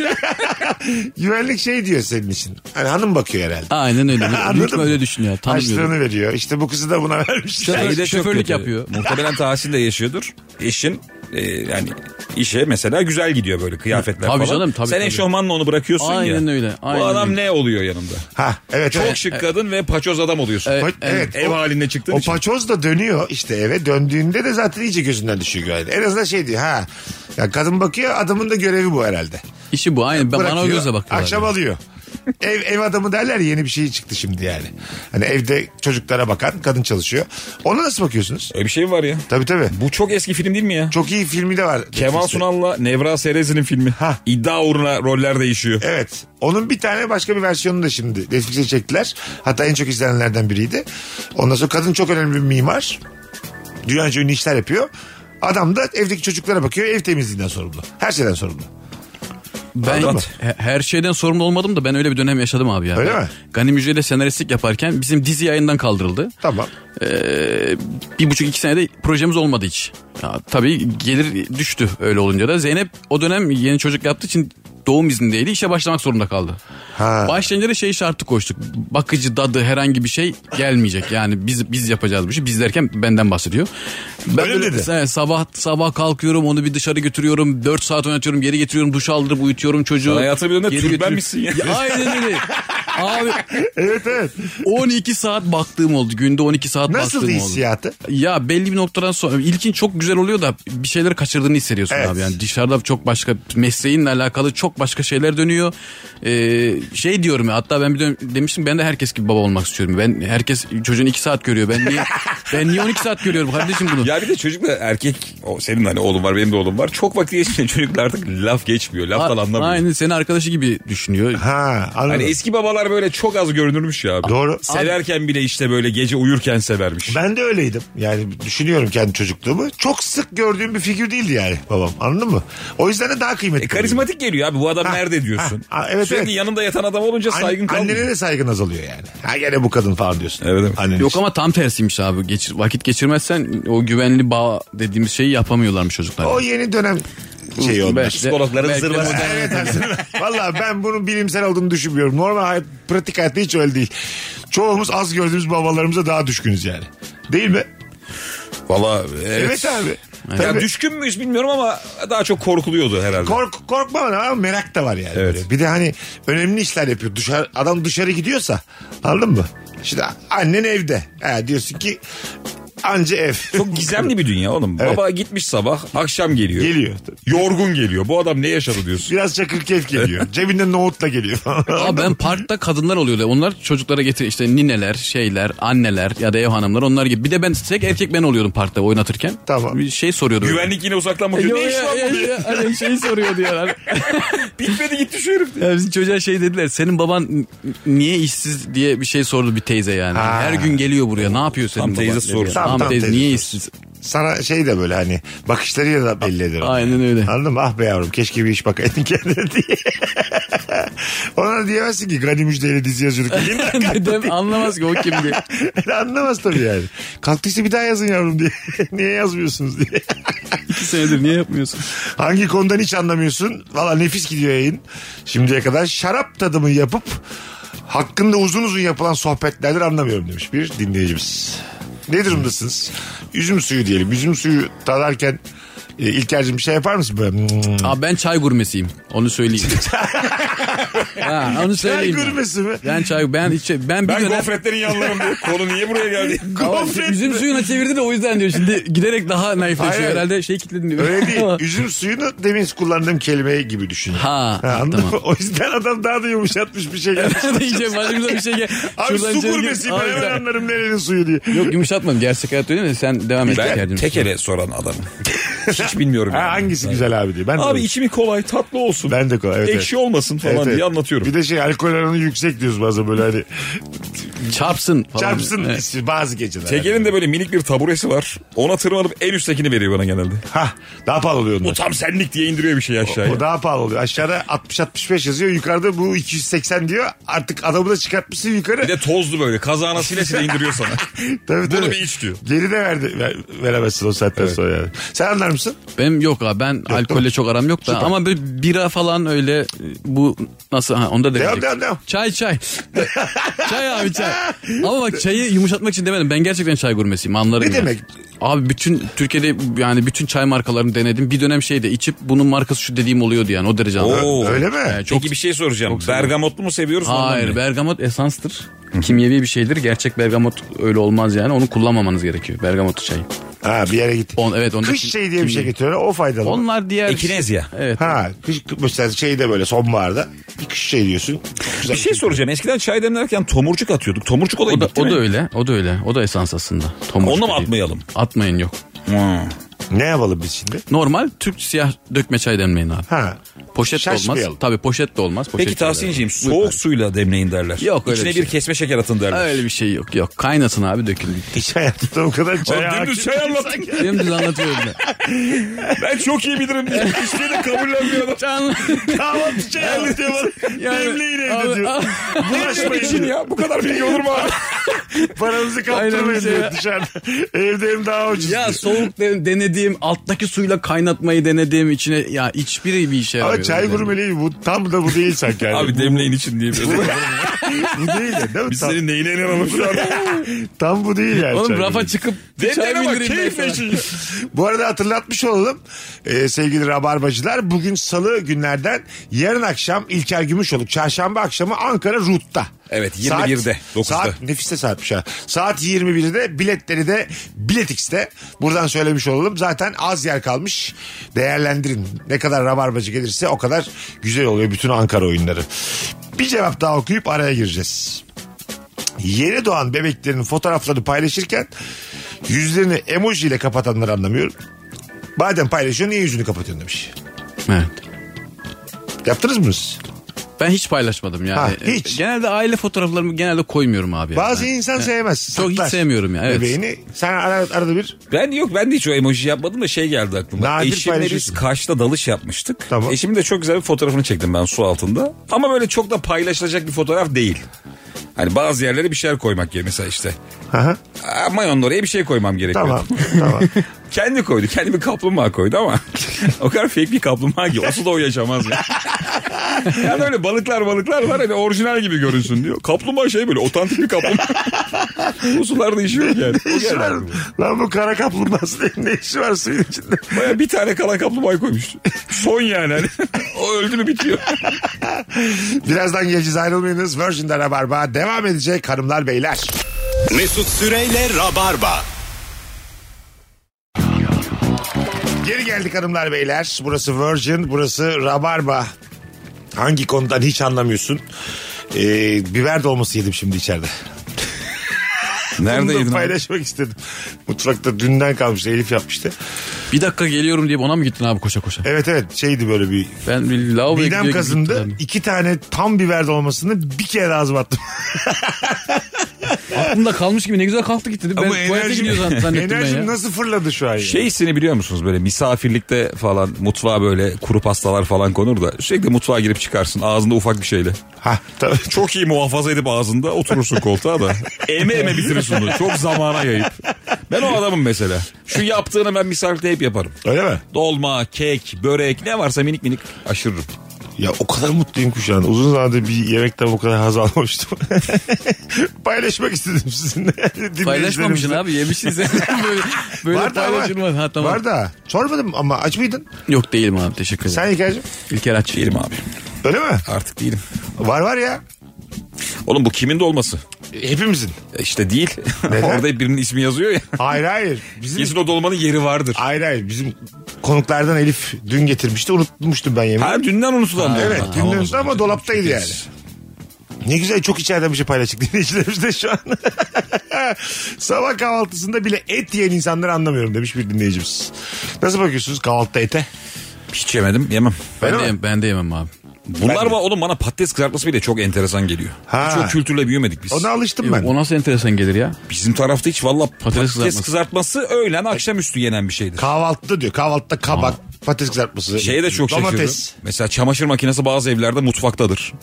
Speaker 2: Güvenlik şey diyor senin için. Hani hanım bakıyor herhalde.
Speaker 4: [laughs]
Speaker 3: Aynen öyle. Büyük
Speaker 2: Anladın
Speaker 3: ihtimal
Speaker 2: mı?
Speaker 3: öyle düşünüyor. Tanımıyorum.
Speaker 2: Açlığını veriyor. İşte bu kızı da buna [laughs] vermişler.
Speaker 3: Şoför-
Speaker 4: Bir şey de çok
Speaker 3: şoförlük
Speaker 4: kötü.
Speaker 3: yapıyor.
Speaker 4: Muhtemelen Tahsin de yaşıyordur. Eşin e, yani işe mesela güzel gidiyor böyle kıyafetler
Speaker 3: Tabii
Speaker 4: falan.
Speaker 3: canım, tabii,
Speaker 4: Sen
Speaker 3: tabii.
Speaker 4: eşofmanla onu bırakıyorsun ya.
Speaker 3: Aynen öyle, aynen
Speaker 4: Bu adam
Speaker 3: öyle.
Speaker 4: ne oluyor yanında?
Speaker 2: Ha, evet.
Speaker 4: Çok
Speaker 2: evet.
Speaker 4: şık kadın ve paçoz adam oluyorsun.
Speaker 3: Evet.
Speaker 2: Pa- evet.
Speaker 4: Ev
Speaker 2: o-
Speaker 4: halinde çıktığın
Speaker 2: O
Speaker 4: için.
Speaker 2: paçoz da dönüyor işte eve döndüğünde de zaten iyice gözünden düşüyor güvenlik. En azından şey diyor ha. Ya kadın bakıyor adamın da görevi bu herhalde.
Speaker 3: İşi bu aynen. Ben bana o
Speaker 2: Bırakıyor,
Speaker 3: gözle bakıyorlar.
Speaker 2: Akşam
Speaker 3: yani.
Speaker 2: alıyor. ev, ev adamı derler ya, yeni bir şey çıktı şimdi yani. Hani evde çocuklara bakan kadın çalışıyor. Ona nasıl bakıyorsunuz?
Speaker 4: Öyle bir şey mi var ya?
Speaker 2: Tabii tabii.
Speaker 4: Bu çok eski film değil mi ya?
Speaker 2: Çok iyi filmi de var.
Speaker 4: Kemal
Speaker 2: Netflix'te.
Speaker 4: Sunal'la Nevra Serezli'nin filmi.
Speaker 2: Ha.
Speaker 4: İddia uğruna roller değişiyor.
Speaker 2: Evet. Onun bir tane başka bir versiyonunu da şimdi Netflix'e çektiler. Hatta en çok izlenenlerden biriydi. Ondan sonra kadın çok önemli bir mimar. Dünyaca ünlü işler yapıyor. Adam da evdeki çocuklara bakıyor. Ev temizliğinden sorumlu. Her şeyden sorumlu.
Speaker 3: Ben
Speaker 2: Anladın mı?
Speaker 3: he- her şeyden sorumlu olmadım da ben öyle bir dönem yaşadım abi ya.
Speaker 2: Öyle mi?
Speaker 3: Gani Müjde ile senaristlik yaparken bizim dizi yayından kaldırıldı.
Speaker 2: Tamam.
Speaker 3: Ee, bir buçuk iki senede projemiz olmadı hiç. Ya, tabii gelir düştü öyle olunca da. Zeynep o dönem yeni çocuk yaptığı için doğum iznindeydi işe başlamak zorunda kaldı.
Speaker 2: Ha.
Speaker 3: Başlayınca da şey şartı koştuk. Bakıcı, dadı herhangi bir şey gelmeyecek. Yani biz biz yapacağız bir şey. Biz derken benden bahsediyor. Ben
Speaker 2: Öyle dedi.
Speaker 3: Evet, sabah sabah kalkıyorum onu bir dışarı götürüyorum. 4 saat oynatıyorum geri getiriyorum duş aldırıp uyutuyorum çocuğu.
Speaker 4: Sana hayatın bir dönemde
Speaker 3: Geri
Speaker 4: türben
Speaker 3: götürüyorum.
Speaker 4: misin ya?
Speaker 3: Aynen öyle. Abi
Speaker 2: Evet evet.
Speaker 3: 12 saat baktığım oldu. Günde 12 saat
Speaker 2: Nasıl
Speaker 3: baktığım oldu.
Speaker 2: hissiyatı?
Speaker 3: Ya belli bir noktadan sonra ilkin çok güzel oluyor da bir şeyleri kaçırdığını hissediyorsun
Speaker 2: Evet.
Speaker 3: abi. Yani dışarıda çok başka mesleğinle alakalı çok başka şeyler dönüyor. Ee, şey diyorum ya hatta ben bir dönem demiştim ben de herkes gibi baba olmak istiyorum. Ben herkes çocuğun 2 saat görüyor. Ben niye ben niye 12 saat görüyorum kardeşim
Speaker 4: [laughs]
Speaker 3: bunu?
Speaker 4: Ya bir de çocukla erkek o senin hani oğlum var benim de oğlum var. Çok vakit geçince [laughs] çocuklar artık laf geçmiyor. Laf da anlamıyor.
Speaker 3: Aynen senin arkadaşı gibi düşünüyor.
Speaker 2: Ha anladım.
Speaker 4: Hani eski babalar böyle çok az görünürmüş ya abi.
Speaker 2: Doğru.
Speaker 4: Severken bile işte böyle gece uyurken severmiş.
Speaker 2: Ben de öyleydim. Yani düşünüyorum kendi çocukluğumu. Çok sık gördüğüm bir figür değildi yani babam. Anladın mı? O yüzden de daha kıymetli.
Speaker 4: E, karizmatik geliyor abi bu adam
Speaker 2: Ha,
Speaker 4: nerede diyorsun.
Speaker 2: ha, ha, evet,
Speaker 4: Sürekli
Speaker 2: evet.
Speaker 4: yanında yatan adam olunca
Speaker 2: An-
Speaker 4: saygın kalmıyor.
Speaker 2: Annene de saygın azalıyor yani. Ha gene bu kadın falan diyorsun.
Speaker 4: Evet, evet.
Speaker 2: Annen
Speaker 3: Yok
Speaker 2: için.
Speaker 3: ama tam tersiymiş abi. Geçir, vakit geçirmezsen o güvenli bağ dediğimiz şeyi yapamıyorlarmış çocuklar.
Speaker 2: O yeni dönem şeyi oldu. [laughs]
Speaker 3: Belki de-
Speaker 4: Psikologların
Speaker 3: belki de
Speaker 4: zırvası.
Speaker 3: modern-
Speaker 2: Evet aslında. Valla ben bunun bilimsel olduğunu düşünmüyorum. Normal hayat, pratik hayatta hiç öyle değil. Çoğumuz az gördüğümüz babalarımıza daha düşkünüz yani. Değil mi?
Speaker 4: Valla
Speaker 2: Evet,
Speaker 4: evet.
Speaker 2: abi.
Speaker 4: Ya
Speaker 2: Tabii.
Speaker 4: düşkün müyüz bilmiyorum ama daha çok korkuluyordu herhalde.
Speaker 2: Kork, korkma ama merak da var yani.
Speaker 4: Evet.
Speaker 2: Böyle. Bir de hani önemli işler yapıyor. Dışarı, adam dışarı gidiyorsa anladın mı? Şimdi annen evde. Ha, diyorsun ki anca ev.
Speaker 4: çok gizemli bir dünya oğlum.
Speaker 2: Evet.
Speaker 4: Baba gitmiş sabah, akşam geliyor.
Speaker 2: [laughs] geliyor.
Speaker 4: Yorgun geliyor. Bu adam ne yaşadı diyorsun.
Speaker 2: Biraz çakır keyif geliyor. Cebinde nohutla geliyor.
Speaker 3: Abi ben parkta kadınlar oluyordu. Onlar çocuklara getir işte nineler, şeyler, anneler ya da ev hanımları onlar gibi. Bir de ben tek erkek ben oluyordum parkta oynatırken.
Speaker 2: Tamam.
Speaker 3: Bir şey soruyordu.
Speaker 4: Güvenlik yine uzaktan
Speaker 3: E, Yo,
Speaker 4: bakıyor. Ne iş
Speaker 3: ya,
Speaker 4: lan
Speaker 3: ya,
Speaker 4: bu diye.
Speaker 3: ya, hani şey soruyordu ya. lan.
Speaker 4: Bitmedi gitti şu herif diye.
Speaker 3: Ya bizim çocuğa şey dediler. Senin baban n- niye işsiz diye bir şey sordu bir teyze yani.
Speaker 2: Ha.
Speaker 3: Her gün geliyor buraya. Ne yapıyor senin
Speaker 4: Tam
Speaker 3: baban?
Speaker 4: teyze
Speaker 3: dedi ya.
Speaker 4: sorusu.
Speaker 2: Tam-
Speaker 3: Tam,
Speaker 2: tam
Speaker 3: teyze,
Speaker 2: teyze
Speaker 3: niye
Speaker 2: sorusu.
Speaker 3: işsiz?
Speaker 2: Sana şey de böyle hani bakışlarıyla da belli ediyor.
Speaker 3: Aynen öyle. [laughs]
Speaker 2: Anladın mı? Ah be yavrum keşke bir iş bakaydın [laughs] kendine diye. Ona da diyemezsin ki Gani Müjde'yle dizi yazıyorduk. Yine
Speaker 3: Dedem anlamaz ki o kim diye.
Speaker 2: Anlamaz tabii yani. Kalktıysa bir daha yazın yavrum diye. [laughs] Niye yazmıyorsunuz diye.
Speaker 3: İki senedir niye yapmıyorsun?
Speaker 2: Hangi konudan hiç anlamıyorsun? Valla nefis gidiyor yayın. Şimdiye kadar şarap tadımı yapıp hakkında uzun uzun yapılan sohbetlerdir anlamıyorum demiş bir dinleyicimiz. Ne durumdasınız? Üzüm suyu diyelim. Üzüm suyu tadarken e, İlker'cim bir şey yapar mısın böyle? Hmm.
Speaker 3: Abi ben çay gurmesiyim. Onu söyleyeyim. ha, onu
Speaker 2: Çay
Speaker 3: söyleyeyim.
Speaker 2: gurmesi mi?
Speaker 3: Ben çay ben hiç ben bir
Speaker 4: Ben
Speaker 3: dönem
Speaker 4: gofretlerin yanlarım [laughs] diye. Konu niye buraya geldi?
Speaker 3: Ama
Speaker 2: Gofret
Speaker 3: üzüm
Speaker 2: mi?
Speaker 3: suyuna çevirdi de o yüzden diyor. Şimdi giderek daha
Speaker 2: Hayır,
Speaker 3: naifleşiyor.
Speaker 2: hayır.
Speaker 3: Herhalde şey kilitledim diyor.
Speaker 2: Öyle
Speaker 3: [laughs]
Speaker 2: değil. Üzüm suyunu demin kullandığım kelime gibi düşün.
Speaker 3: Ha,
Speaker 2: anladın
Speaker 3: tamam.
Speaker 2: mı? O yüzden adam daha da yumuşatmış bir
Speaker 3: [laughs]
Speaker 2: şey gelmiş.
Speaker 3: İyice başımıza bir şey gel.
Speaker 2: Abi
Speaker 3: Şuradan
Speaker 2: su
Speaker 3: içeri gir.
Speaker 2: gurbesi ben
Speaker 3: Abi,
Speaker 2: hemen
Speaker 3: sen-
Speaker 2: anlarım nerenin suyu diye.
Speaker 3: Yok yumuşatmadım. Gerçek hayat öyle mi? Sen devam et.
Speaker 4: Ben
Speaker 3: Kerdim.
Speaker 4: tek ele soran adamım. Hiç bilmiyorum. yani.
Speaker 2: Ha, hangisi güzel abi diye. Ben de
Speaker 4: Abi
Speaker 2: öyle.
Speaker 4: içimi kolay tatlı olsun.
Speaker 2: Ben de kolay, evet,
Speaker 4: Ekşi
Speaker 2: evet.
Speaker 4: olmasın falan
Speaker 2: Evet, evet.
Speaker 4: diye anlatıyorum.
Speaker 2: Bir de şey alkol oranı yüksek diyoruz bazen böyle hani
Speaker 3: Çarpsın falan.
Speaker 2: çarpsın
Speaker 3: Evet.
Speaker 2: işte bazı geceler.
Speaker 4: Tekel'in de böyle minik bir taburesi var. Ona tırmanıp en üsttekini veriyor bana genelde.
Speaker 2: Ha daha pahalı oluyor
Speaker 4: Bu
Speaker 2: onlar.
Speaker 4: tam senlik diye indiriyor bir şey aşağıya.
Speaker 2: O daha pahalı oluyor. Aşağıda 60-65 yazıyor. Yukarıda bu 280 diyor. Artık adamı da çıkartmışsın yukarı.
Speaker 4: Bir de tozlu böyle. Kazağına sile sile indiriyor [laughs] sana.
Speaker 2: [laughs] tabii,
Speaker 4: Bunu
Speaker 2: tabii.
Speaker 4: bir iç diyor.
Speaker 2: Geri de verdi, ver- veremezsin o saatten sonra yani. Sen anlar mısın?
Speaker 3: Benim yok abi. Ben alkolle çok aram yok da. Ama böyle bira falan öyle e, bu nasıl? Ha, onda
Speaker 2: Devam devam devam.
Speaker 3: Çay çay. [laughs] çay abi çay. Ama bak çayı yumuşatmak için demedim. Ben gerçekten çay gurmesiyim anlarım.
Speaker 2: Ne
Speaker 3: ya.
Speaker 2: demek?
Speaker 3: Abi bütün Türkiye'de yani bütün çay markalarını denedim. Bir dönem şeyde içip bunun markası şu dediğim oluyordu yani o derece. anlarım.
Speaker 4: Oo.
Speaker 2: Öyle mi?
Speaker 3: Yani çok-
Speaker 4: Peki bir şey soracağım. Bergamotlu mu seviyoruz? normal
Speaker 3: Hayır
Speaker 4: mi?
Speaker 3: bergamot esanstır. Kimyevi bir şeydir. Gerçek bergamot öyle olmaz yani. Onu kullanmamanız gerekiyor. Bergamot çayı.
Speaker 2: Ha bir yere git.
Speaker 3: On, evet, onda
Speaker 2: Kış
Speaker 3: kim-
Speaker 2: şeyi diye bir şey
Speaker 3: kimyevi.
Speaker 2: getiriyorlar. O faydalı.
Speaker 3: Onlar diğer...
Speaker 4: Ekinezya.
Speaker 3: Evet.
Speaker 2: Ha kış mesela şeyde böyle sonbaharda bir kış şey diyorsun. Güzel
Speaker 4: Bir şey soracağım. Eskiden çay demlerken tomurcuk atıyorduk. Tomurcuk olayı
Speaker 3: O da,
Speaker 4: bitti
Speaker 3: o
Speaker 4: mi?
Speaker 3: da öyle. O da öyle. O da esans aslında. Tomurcuk
Speaker 4: Onu mu
Speaker 3: dediği.
Speaker 4: atmayalım?
Speaker 3: Atmayın yok.
Speaker 4: Hı.
Speaker 2: Ne yapalım biz şimdi?
Speaker 3: Normal Türk siyah dökme çay demleyin abi.
Speaker 2: Ha.
Speaker 3: Poşet de olmaz.
Speaker 2: Şaşmayalım.
Speaker 3: Tabii poşet de olmaz. Poşet
Speaker 4: Peki
Speaker 3: de olmaz.
Speaker 4: tavsiyeciğim
Speaker 3: Buyurun
Speaker 4: soğuk
Speaker 3: abi.
Speaker 4: suyla demleyin derler.
Speaker 3: Yok, öyle
Speaker 4: İçine
Speaker 3: bir
Speaker 4: bir
Speaker 3: şey.
Speaker 4: kesme şeker atın derler.
Speaker 3: Öyle bir şey yok yok. Kaynatın abi dökün.
Speaker 2: [laughs] Hiç hayatımda bu kadar çay
Speaker 4: Oğlum dümdüz çay anlattın.
Speaker 3: Dümdüz anlatıyorum ben.
Speaker 4: [laughs] ben çok iyi bilirim diye.
Speaker 3: [laughs]
Speaker 4: Hiçbir şey
Speaker 2: [laughs]
Speaker 4: de kabullenmiyor adam.
Speaker 3: Can-
Speaker 2: Kahvaltı çay anlatıyor bana.
Speaker 3: Yani-
Speaker 2: Demleyin evde
Speaker 3: Abi-
Speaker 2: diyor. Bulaşmayın
Speaker 4: için
Speaker 2: diyor.
Speaker 4: ya bu kadar bilgi olur mu abi?
Speaker 2: Paranızı
Speaker 3: Aynen
Speaker 2: kaptırmayın
Speaker 3: bir şey
Speaker 2: diyor
Speaker 3: ya.
Speaker 2: dışarıda. Evde hem daha ucuz.
Speaker 3: Ya
Speaker 2: diyor.
Speaker 3: soğuk de- denediğim, alttaki suyla kaynatmayı denediğim içine ya hiçbiri bir işe
Speaker 2: Ama
Speaker 3: yaramıyor.
Speaker 2: Ama çay gurmeliği bu tam da bu değil sanki. Yani.
Speaker 4: Abi demleyin için
Speaker 2: [laughs]
Speaker 4: diye.
Speaker 2: bu değil de değil mi?
Speaker 4: Biz
Speaker 2: Tam,
Speaker 4: senin neyine inanalım şu [laughs] an?
Speaker 2: tam [laughs] bu değil yani. çay
Speaker 3: Oğlum rafa
Speaker 2: gurmeliği.
Speaker 3: çıkıp bir
Speaker 4: Demlen
Speaker 3: çay
Speaker 4: ama
Speaker 3: bindireyim ben
Speaker 4: keyifle şey-
Speaker 3: sana.
Speaker 4: için.
Speaker 2: Bu arada hatırlatmış olalım Ee, sevgili Rabarbacılar. Bugün salı günlerden yarın akşam İlker Gümüşoluk. Çarşamba akşamı Ankara Rut'ta.
Speaker 4: Evet,
Speaker 2: Saat-
Speaker 4: 21'de, 9'da.
Speaker 2: Saat, nefiste saatmiş ha. Saat 21'de biletleri de Biletix'te. Buradan söylemiş olalım. Zaten az yer kalmış. Değerlendirin. Ne kadar Rabarbacı gelirse o kadar güzel oluyor bütün Ankara oyunları. Bir cevap daha okuyup araya gireceğiz yeni doğan bebeklerin fotoğraflarını paylaşırken yüzlerini emoji ile kapatanları anlamıyorum. Madem paylaşıyorsun niye yüzünü kapatıyorsun demiş.
Speaker 3: Evet.
Speaker 2: Yaptınız mı siz?
Speaker 3: Ben hiç paylaşmadım yani.
Speaker 2: Ha,
Speaker 3: E,
Speaker 2: hiç.
Speaker 3: Genelde aile fotoğraflarımı genelde koymuyorum abi. yani.
Speaker 2: Bazı
Speaker 3: Ben-
Speaker 2: insan
Speaker 3: ben-
Speaker 2: sevmez.
Speaker 3: Çok hiç
Speaker 2: saklar
Speaker 3: sevmiyorum ya, evet.
Speaker 2: Bebeğini sen ara, arada bir
Speaker 4: [laughs] Ben yok ben de hiç o emoji yapmadım da şey geldi aklıma.
Speaker 2: Nadir
Speaker 4: Eşimle biz
Speaker 2: paylaşıyorsun.
Speaker 4: Kaş'ta dalış yapmıştık.
Speaker 2: Tamam.
Speaker 4: Eşimin de çok güzel bir fotoğrafını çektim ben su altında. Ama böyle çok da paylaşılacak bir fotoğraf değil. Hani bazı yerlere bir şeyler koymak gibi mesela işte.
Speaker 2: Aha,
Speaker 4: Aa, Mayonun oraya bir şey koymam gerekiyor.
Speaker 2: tamam
Speaker 3: [laughs]
Speaker 2: tamam.
Speaker 4: Kendi koydu. Kendi bir kaplumbağa koydu ama [laughs] o kadar fake bir kaplumbağa ki o suda o yaşamaz
Speaker 2: [laughs]
Speaker 4: ya. yani öyle balıklar balıklar var hani orijinal gibi görünsün diyor. Kaplumbağa şey böyle otantik bir kaplumbağa. o sularda işi yok yani. O
Speaker 2: Ne işi
Speaker 4: geldi
Speaker 2: var?
Speaker 4: aklıma.
Speaker 2: Lan bu kara kaplumbağası [laughs] ne işi var suyun içinde?
Speaker 4: Baya bir tane kalan kaplumbağa koymuş. Son yani hani. o öldü mü bitiyor.
Speaker 2: Birazdan geleceğiz ayrılmayınız. Virgin'de Rabarba devam edecek hanımlar beyler.
Speaker 1: Mesut Süreyle Rabarba.
Speaker 2: Geri geldik hanımlar beyler. Burası Virgin, burası Rabarba. Hangi konudan hiç anlamıyorsun? Ee, biber dolması yedim şimdi içeride. Bunu da
Speaker 4: Nerede yedin abi?
Speaker 2: paylaşmak istedim. Mutfakta dünden kalmıştı Elif yapmıştı.
Speaker 3: Bir dakika geliyorum deyip ona mı gittin abi koşa koşa?
Speaker 2: Evet evet şeydi böyle bir...
Speaker 3: Ben bir lavaboya gidiyor
Speaker 2: Midem
Speaker 3: gibi
Speaker 2: kazındı.
Speaker 3: gittim
Speaker 2: iki tane tam biber dolmasını bir kere de ağzıma attım.
Speaker 3: abi. Aklımda kalmış gibi ne güzel kalktı gitti. Ben
Speaker 4: Ama
Speaker 3: tuvalete
Speaker 4: enerjim-
Speaker 3: gidiyor zan- zannettim ben
Speaker 2: Enerjim
Speaker 3: ya.
Speaker 2: nasıl fırladı şu an ya?
Speaker 4: Şey hissini biliyor musunuz böyle misafirlikte falan mutfağa böyle kuru pastalar falan konur da sürekli mutfağa girip çıkarsın ağzında ufak bir şeyle.
Speaker 2: Ha, tabii.
Speaker 4: Çok iyi muhafaza edip ağzında oturursun koltuğa da. Eme eme bitirirsin onu. Çok zamana yayıp. Ben o adamım mesela. Şu yaptığını ben misafirlikte hep yaparım.
Speaker 2: Öyle mi?
Speaker 4: Dolma, kek, börek ne varsa minik minik aşırırım.
Speaker 2: Ya o kadar mutluyum ki şu an. Uzun zamandır bir yemekten o kadar haz almamıştım. [laughs] Paylaşmak istedim sizinle. [laughs]
Speaker 3: Paylaşmamışsın
Speaker 2: Dinleyicilerimizle.
Speaker 3: abi yemişsin sen.
Speaker 2: [laughs]
Speaker 3: böyle böyle
Speaker 2: var da
Speaker 3: paylaşılmaz.
Speaker 2: var.
Speaker 3: Ha, tamam.
Speaker 2: Var da. Sormadım ama aç mıydın?
Speaker 3: Yok değilim abi teşekkür ederim.
Speaker 2: Sen İlker'cim.
Speaker 3: İlker aç.
Speaker 4: Değilim abi.
Speaker 2: Öyle mi?
Speaker 4: Artık değilim.
Speaker 2: Var var ya.
Speaker 4: Oğlum bu kimin de olması?
Speaker 2: Hepimizin.
Speaker 3: E,
Speaker 4: İşte değil.
Speaker 3: [laughs]
Speaker 2: Neden?
Speaker 4: Orada hep birinin ismi yazıyor ya.
Speaker 2: Hayır hayır. Bizim
Speaker 4: Kesin o dolmanın yeri vardır.
Speaker 2: Hayır hayır. Bizim konuklardan Elif dün getirmişti. Unutmuştum ben yemeği.
Speaker 4: Her dünden unutulan diyor.
Speaker 2: evet.
Speaker 4: Ha,
Speaker 2: Dün
Speaker 4: tamam o
Speaker 2: dönüştü
Speaker 4: zaman.
Speaker 2: ama dolaptaydı yani.
Speaker 4: Çok
Speaker 2: Ne güzel çok içeriden bir şey paylaştık [laughs] dinleyicilerimiz de şu an. Sabah kahvaltısında bile et yiyen insanları anlamıyorum demiş bir dinleyicimiz. Nasıl bakıyorsunuz kahvaltıda ete?
Speaker 4: Hiç yemedim yemem.
Speaker 3: Ben,
Speaker 2: Öyle
Speaker 3: de,
Speaker 2: mi?
Speaker 3: yem- ben de yemem abi.
Speaker 4: Bunlar var oğlum bana patates kızartması bile çok enteresan geliyor.
Speaker 2: Ha.
Speaker 4: Hiç o kültürle büyümedik biz.
Speaker 2: Ona alıştım ben.
Speaker 3: O nasıl enteresan gelir ya?
Speaker 4: Bizim tarafta hiç valla patates,
Speaker 3: kızartması.
Speaker 4: kızartması. öğlen akşamüstü yenen bir şeydir.
Speaker 2: Kahvaltıda diyor. Kahvaltıda kabak, patates kızartması,
Speaker 4: Şeye de çok şaşırdım.
Speaker 2: domates.
Speaker 4: Mesela çamaşır makinesi bazı evlerde mutfaktadır.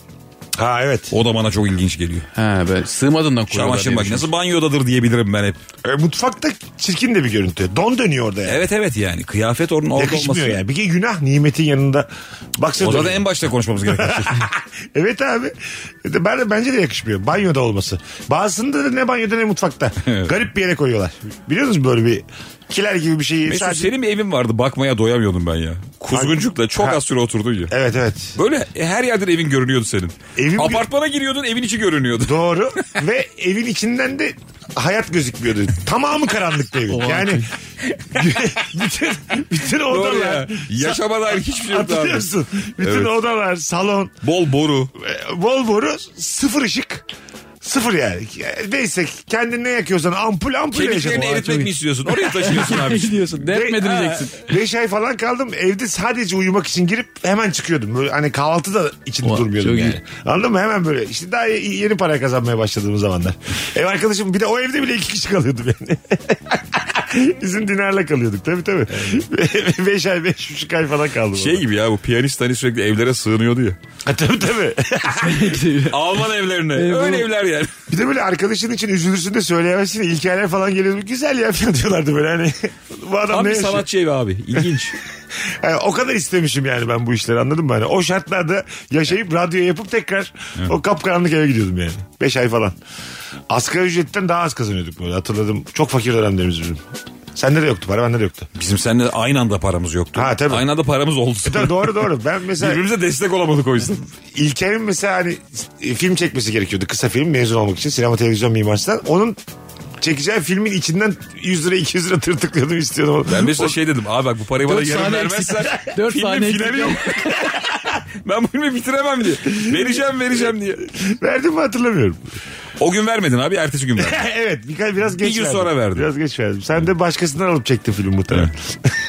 Speaker 2: Ha evet.
Speaker 4: O da bana çok ilginç geliyor.
Speaker 3: He ben sığmadığından koyuyorlar.
Speaker 4: Çamaşır
Speaker 3: diye [laughs]
Speaker 4: makinesi banyodadır diyebilirim ben hep.
Speaker 2: E, mutfakta çirkin de bir görüntü. Don dönüyor orada yani.
Speaker 4: Evet evet yani kıyafet onun orada olması.
Speaker 2: Yakışmıyor yani. Bir şey kere günah nimetin yanında. Baksana.
Speaker 4: O
Speaker 2: dönüyor.
Speaker 4: zaten
Speaker 2: [laughs]
Speaker 4: en başta konuşmamız gereken şey.
Speaker 2: Evet abi. E, De- Ben de, bence de yakışmıyor. Banyoda olması. Bazısında da ne banyoda ne mutfakta.
Speaker 4: [laughs] Evet.
Speaker 2: Garip bir yere koyuyorlar. Biliyor musunuz böyle bir kiler gibi bir şeyi.
Speaker 4: Mesut
Speaker 2: sadece-
Speaker 4: senin bir evin vardı bakmaya doyamıyordum ben ya. Kuzguncuk'la çok
Speaker 2: Ha.
Speaker 4: az süre oturdun ya.
Speaker 2: Evet evet.
Speaker 4: Böyle her yerden evin görünüyordu senin.
Speaker 2: Evim-
Speaker 4: Apartmana giriyordun evin içi görünüyordu.
Speaker 2: Doğru. [laughs] Ve evin içinden de hayat gözükmüyordu. Tamamı karanlıktı
Speaker 4: [laughs]
Speaker 2: evin. yani [laughs] bütün, bütün
Speaker 4: Doğru
Speaker 2: odalar.
Speaker 4: ya. Yaşama dair hiçbir şey yoktu abi.
Speaker 2: Hatırlıyorsun. Bütün
Speaker 4: Evet.
Speaker 2: odalar, salon,
Speaker 4: Bol boru.
Speaker 2: e, bol boru, sıfır ışık. Sıfır yani. Neyse kendin ne yakıyorsan ampul ampul
Speaker 4: Kemiklerini eritmek mi istiyorsun?
Speaker 2: [laughs]
Speaker 4: Oraya taşıyorsun abi.
Speaker 3: düşünmüştüm. Gidiyorsun. Dert mi edineceksin?
Speaker 2: 5 ay falan kaldım. Evde sadece uyumak için girip hemen çıkıyordum. Böyle hani kahvaltı da içinde
Speaker 3: Vay,
Speaker 2: durmuyordum
Speaker 3: çok
Speaker 2: yani.
Speaker 3: iyi.
Speaker 2: Anladın mı? Hemen böyle. İşte daha y- yeni para kazanmaya başladığım zamanlar. Ev arkadaşım bir de o evde bile iki kişi kalıyordum yani. [laughs] Bizim dinarla kalıyorduk tabii tabii. 5 ay beş buçuk ay falan kaldım.
Speaker 4: Şey
Speaker 2: orada.
Speaker 4: gibi ya bu piyanist hani sürekli evlere sığınıyordu ya.
Speaker 2: Ha, tabii tabii.
Speaker 4: Alman evlerine.
Speaker 3: E,
Speaker 4: Öyle evler yani.
Speaker 2: bir de böyle arkadaşın için üzülürsün de söyleyemezsin. [laughs] İlkerler falan geliyordu. Güzel ya falan diyorlardı böyle hani. Bu adam
Speaker 4: Tam
Speaker 2: ne
Speaker 4: bir
Speaker 2: yaşıyor?
Speaker 4: sanatçı evi abi. İlginç.
Speaker 2: Yani o kadar istemişim yani ben bu işleri anladın mı? Hani o şartlarda yaşayıp radyo yapıp tekrar o kapkaranlık eve gidiyordum yani. 5 ay falan. Asgari ücretten daha az kazanıyorduk böyle hatırladım. Çok fakir dönemlerimiz bizim. Sende de yoktu para bende de yoktu.
Speaker 4: Bizim seninle aynı anda paramız yoktu.
Speaker 2: Ha, tabii.
Speaker 4: Aynı anda paramız oldu.
Speaker 2: E tabii doğru doğru. Ben mesela
Speaker 4: [laughs] Birbirimize destek olamadık o yüzden.
Speaker 2: İlker'in mesela hani e, film çekmesi gerekiyordu. Kısa film mezun olmak için sinema televizyon mimarisinden. Onun çekeceği filmin içinden 100 lira 200 lira tırtıklıyordum istiyordum.
Speaker 4: Ben mesela
Speaker 2: O-
Speaker 4: şey dedim abi bak bu parayı bana
Speaker 3: Dört
Speaker 4: yarın
Speaker 3: saniye
Speaker 4: vermezsen
Speaker 3: eksik. Dört
Speaker 4: filmin
Speaker 3: saniye
Speaker 4: finali
Speaker 3: eksik.
Speaker 4: yok. [laughs] ben bu filmi bitiremem diye. Vereceğim vereceğim diye.
Speaker 2: Verdim mi hatırlamıyorum. [laughs]
Speaker 4: O gün vermedin abi ertesi gün
Speaker 3: [laughs]
Speaker 4: verdin.
Speaker 2: evet birkaç biraz geç
Speaker 4: gün
Speaker 2: verdim.
Speaker 4: sonra verdim.
Speaker 2: Biraz geç verdim. Sen de başkasından alıp çekti film muhtemelen.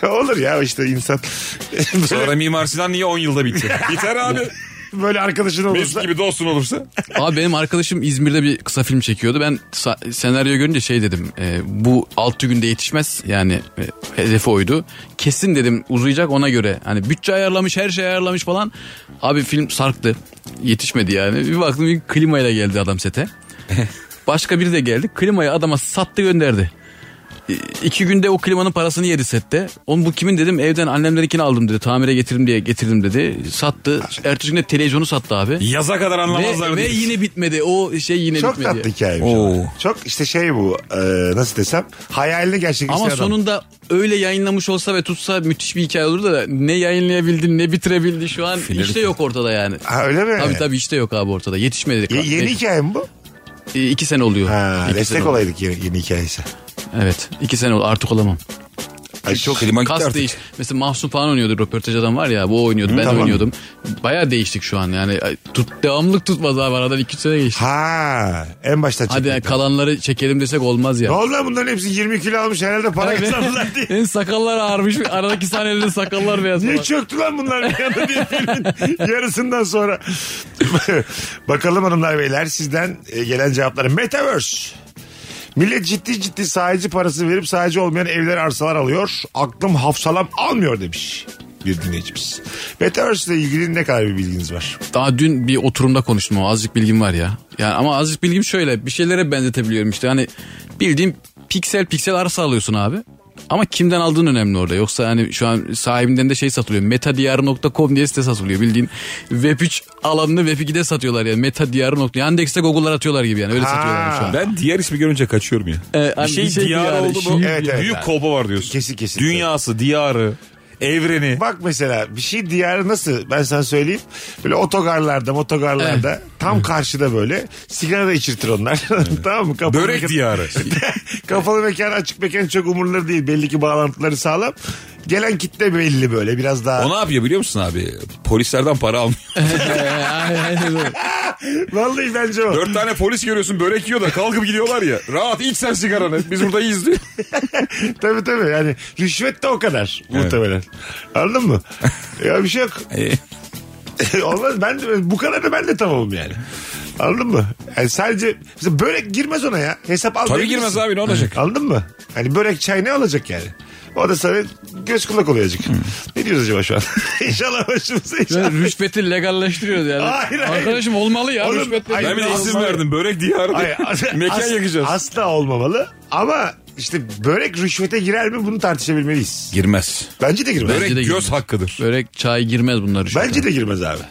Speaker 2: [laughs] Olur ya işte insan [laughs] böyle,
Speaker 4: Sonra Mimar Sinan niye 10 yılda bitti? Biter abi.
Speaker 2: böyle arkadaşın olursa.
Speaker 4: Mesut gibi dostun olursa.
Speaker 3: Abi benim arkadaşım İzmir'de bir kısa film çekiyordu. Ben sa- senaryo görünce şey dedim. e, bu 6 günde yetişmez. Yani e, hedefi oydu. Kesin dedim uzayacak ona göre. Hani bütçe ayarlamış her şey ayarlamış falan. Abi film sarktı. Yetişmedi yani. Bir baktım bir klimayla geldi adam sete. Başka biri de geldi. Klimayı adama sattı gönderdi. E, İki günde o klimanın parasını yedi sette. Oğlum bu kimin dedim evden annemlerinkini aldım dedi. Tamire getirdim diye getirdim dedi. Sattı. Ertesi gün de televizyonu sattı abi.
Speaker 4: Yaza kadar anlamazlar
Speaker 3: Ve, ve
Speaker 4: diye.
Speaker 3: yine bitmedi. O şey yine
Speaker 2: Çok
Speaker 3: bitmedi.
Speaker 2: tatlı hikayeymiş.
Speaker 4: Oo.
Speaker 2: ama. Çok işte şey bu e, nasıl desem hayalini gerçekleştiren
Speaker 3: Ama
Speaker 2: adam.
Speaker 3: sonunda öyle yayınlamış olsa ve tutsa müthiş bir hikaye olurdu da ne yayınlayabildi ne bitirebildi şu an işte yok ortada yani.
Speaker 2: Ha, öyle mi?
Speaker 3: Tabii tabii işte yok abi ortada. Yetişmedi.
Speaker 2: Ye- yeni hikaye mi bu?
Speaker 3: E, iki sene oluyor.
Speaker 2: Ha,
Speaker 3: İki
Speaker 2: destek
Speaker 3: sene oldu.
Speaker 2: olaydık yeni, yeni hikayesi.
Speaker 3: Evet. iki sene oldu. Artık olamam.
Speaker 2: Ay, çok
Speaker 4: Kliman gitti
Speaker 3: Kas
Speaker 4: artık.
Speaker 3: değiş. Mesela Mahsun Pağan oynuyordu. Röportaj adam var ya. Bu oynuyordu. ben
Speaker 2: tamam.
Speaker 3: oynuyordum. Baya değiştik şu an yani. Ay, Tut, devamlık tutmaz abi. Aradan iki sene geçti.
Speaker 2: Ha, en baştan
Speaker 3: Hadi
Speaker 2: çekmek.
Speaker 3: yani kalanları çekelim desek olmaz ya.
Speaker 2: Ne oldu lan bunların hepsi 20 kilo almış herhalde para
Speaker 3: Abi.
Speaker 2: kazandılar diye.
Speaker 3: [laughs] En sakallar ağarmış. Aradaki sahnelerin sakallar beyaz.
Speaker 2: Niye
Speaker 3: falan.
Speaker 2: çöktü lan bunlar bir anda diye filmin
Speaker 3: [laughs]
Speaker 2: yarısından sonra. [laughs] Bakalım hanımlar beyler sizden e, gelen cevapları. Metaverse. Millet ciddi ciddi sahici parası verip sahici olmayan evler arsalar alıyor. Aklım hafsalam almıyor demiş bir dinleyicimiz. Metaverse ile ilgili ne kadar bir bilginiz var?
Speaker 3: Daha dün bir oturumda konuştum o azıcık bilgim var ya. Yani ama azıcık bilgim şöyle bir şeylere benzetebiliyorum işte. Hani bildiğim piksel piksel arsa alıyorsun abi. Ama kimden aldığın önemli orada. Yoksa hani şu an sahibinden de şey satılıyor. Metadiyar.com diye site satılıyor. Bildiğin Web3 alanını Web2'de satıyorlar yani. Metadiyar. nokta- Yandex'te Google'lar atıyorlar gibi yani. Öyle
Speaker 2: Ha.
Speaker 3: satıyorlar şu an.
Speaker 4: Ben diğer ismi görünce kaçıyorum ya.
Speaker 3: Ee,
Speaker 4: bir
Speaker 3: hani
Speaker 4: şey,
Speaker 3: bir şey
Speaker 4: diyarı
Speaker 3: diyarı,
Speaker 4: oldu mu?
Speaker 3: şey
Speaker 2: Evet, evet.
Speaker 4: Büyük kolba var diyorsun.
Speaker 2: Kesin, kesin.
Speaker 4: Dünyası, diyarı, evreni.
Speaker 2: Bak mesela bir şey diyarı nasıl ben sana söyleyeyim. Böyle otogarlarda motogarlarda tam karşıda böyle sigara da içirtir onlar. [laughs] tamam mı? Kapalı
Speaker 4: Börek
Speaker 2: mekan-
Speaker 4: diyarı.
Speaker 2: [laughs] Kafalı mekan açık mekan çok umurları değil. Belli ki bağlantıları sağlam. Gelen kitle belli böyle biraz daha.
Speaker 4: O ne yapıyor biliyor musun abi? Polislerden para almıyor.
Speaker 2: [laughs] [laughs] Vallahi bence o.
Speaker 4: [laughs] Dört tane polis görüyorsun börek yiyor da kalkıp gidiyorlar ya. Rahat iç sen sigaranı. Biz burada iyiyiz [laughs] diyor.
Speaker 2: tabii tabii yani rüşvet de o kadar muhtemelen. Anladın
Speaker 4: [laughs]
Speaker 2: mı? ya bir şey yok. [laughs]
Speaker 4: Ee,
Speaker 2: Olmaz ben de, bu kadar da ben de tamamım yani. Anladın mı? Yani sadece mesela börek girmez ona ya. Hesap almayabilirsin.
Speaker 4: Tabii girmez abi ne olacak?
Speaker 2: Anladın mı? Hani börek çay ne olacak yani? O da sana göz kulak olacak.
Speaker 4: Hmm.
Speaker 2: ne diyoruz acaba şu an? [laughs] inşallah başımıza inşallah.
Speaker 3: Yani rüşveti legalleştiriyoruz yani.
Speaker 2: Hayır, hayır.
Speaker 3: Arkadaşım olmalı ya.
Speaker 2: Oğlum,
Speaker 3: rüşvet
Speaker 2: hayır,
Speaker 4: Ben bir de
Speaker 2: Ay, [laughs]
Speaker 4: işsiz
Speaker 2: ay.
Speaker 4: verdim börek diyarı.
Speaker 2: Hayır,
Speaker 4: diye.
Speaker 2: as-
Speaker 4: [laughs] Mekan
Speaker 2: as-
Speaker 4: yakacağız.
Speaker 2: Asla olmamalı ama işte börek rüşvete girer mi bunu tartışabilmeliyiz.
Speaker 4: Girmez.
Speaker 2: Bence de girmez.
Speaker 4: Börek
Speaker 3: de
Speaker 4: göz
Speaker 3: girmez.
Speaker 4: hakkıdır.
Speaker 3: Börek çay girmez bunlar. rüşvete.
Speaker 2: Bence de girmez abi.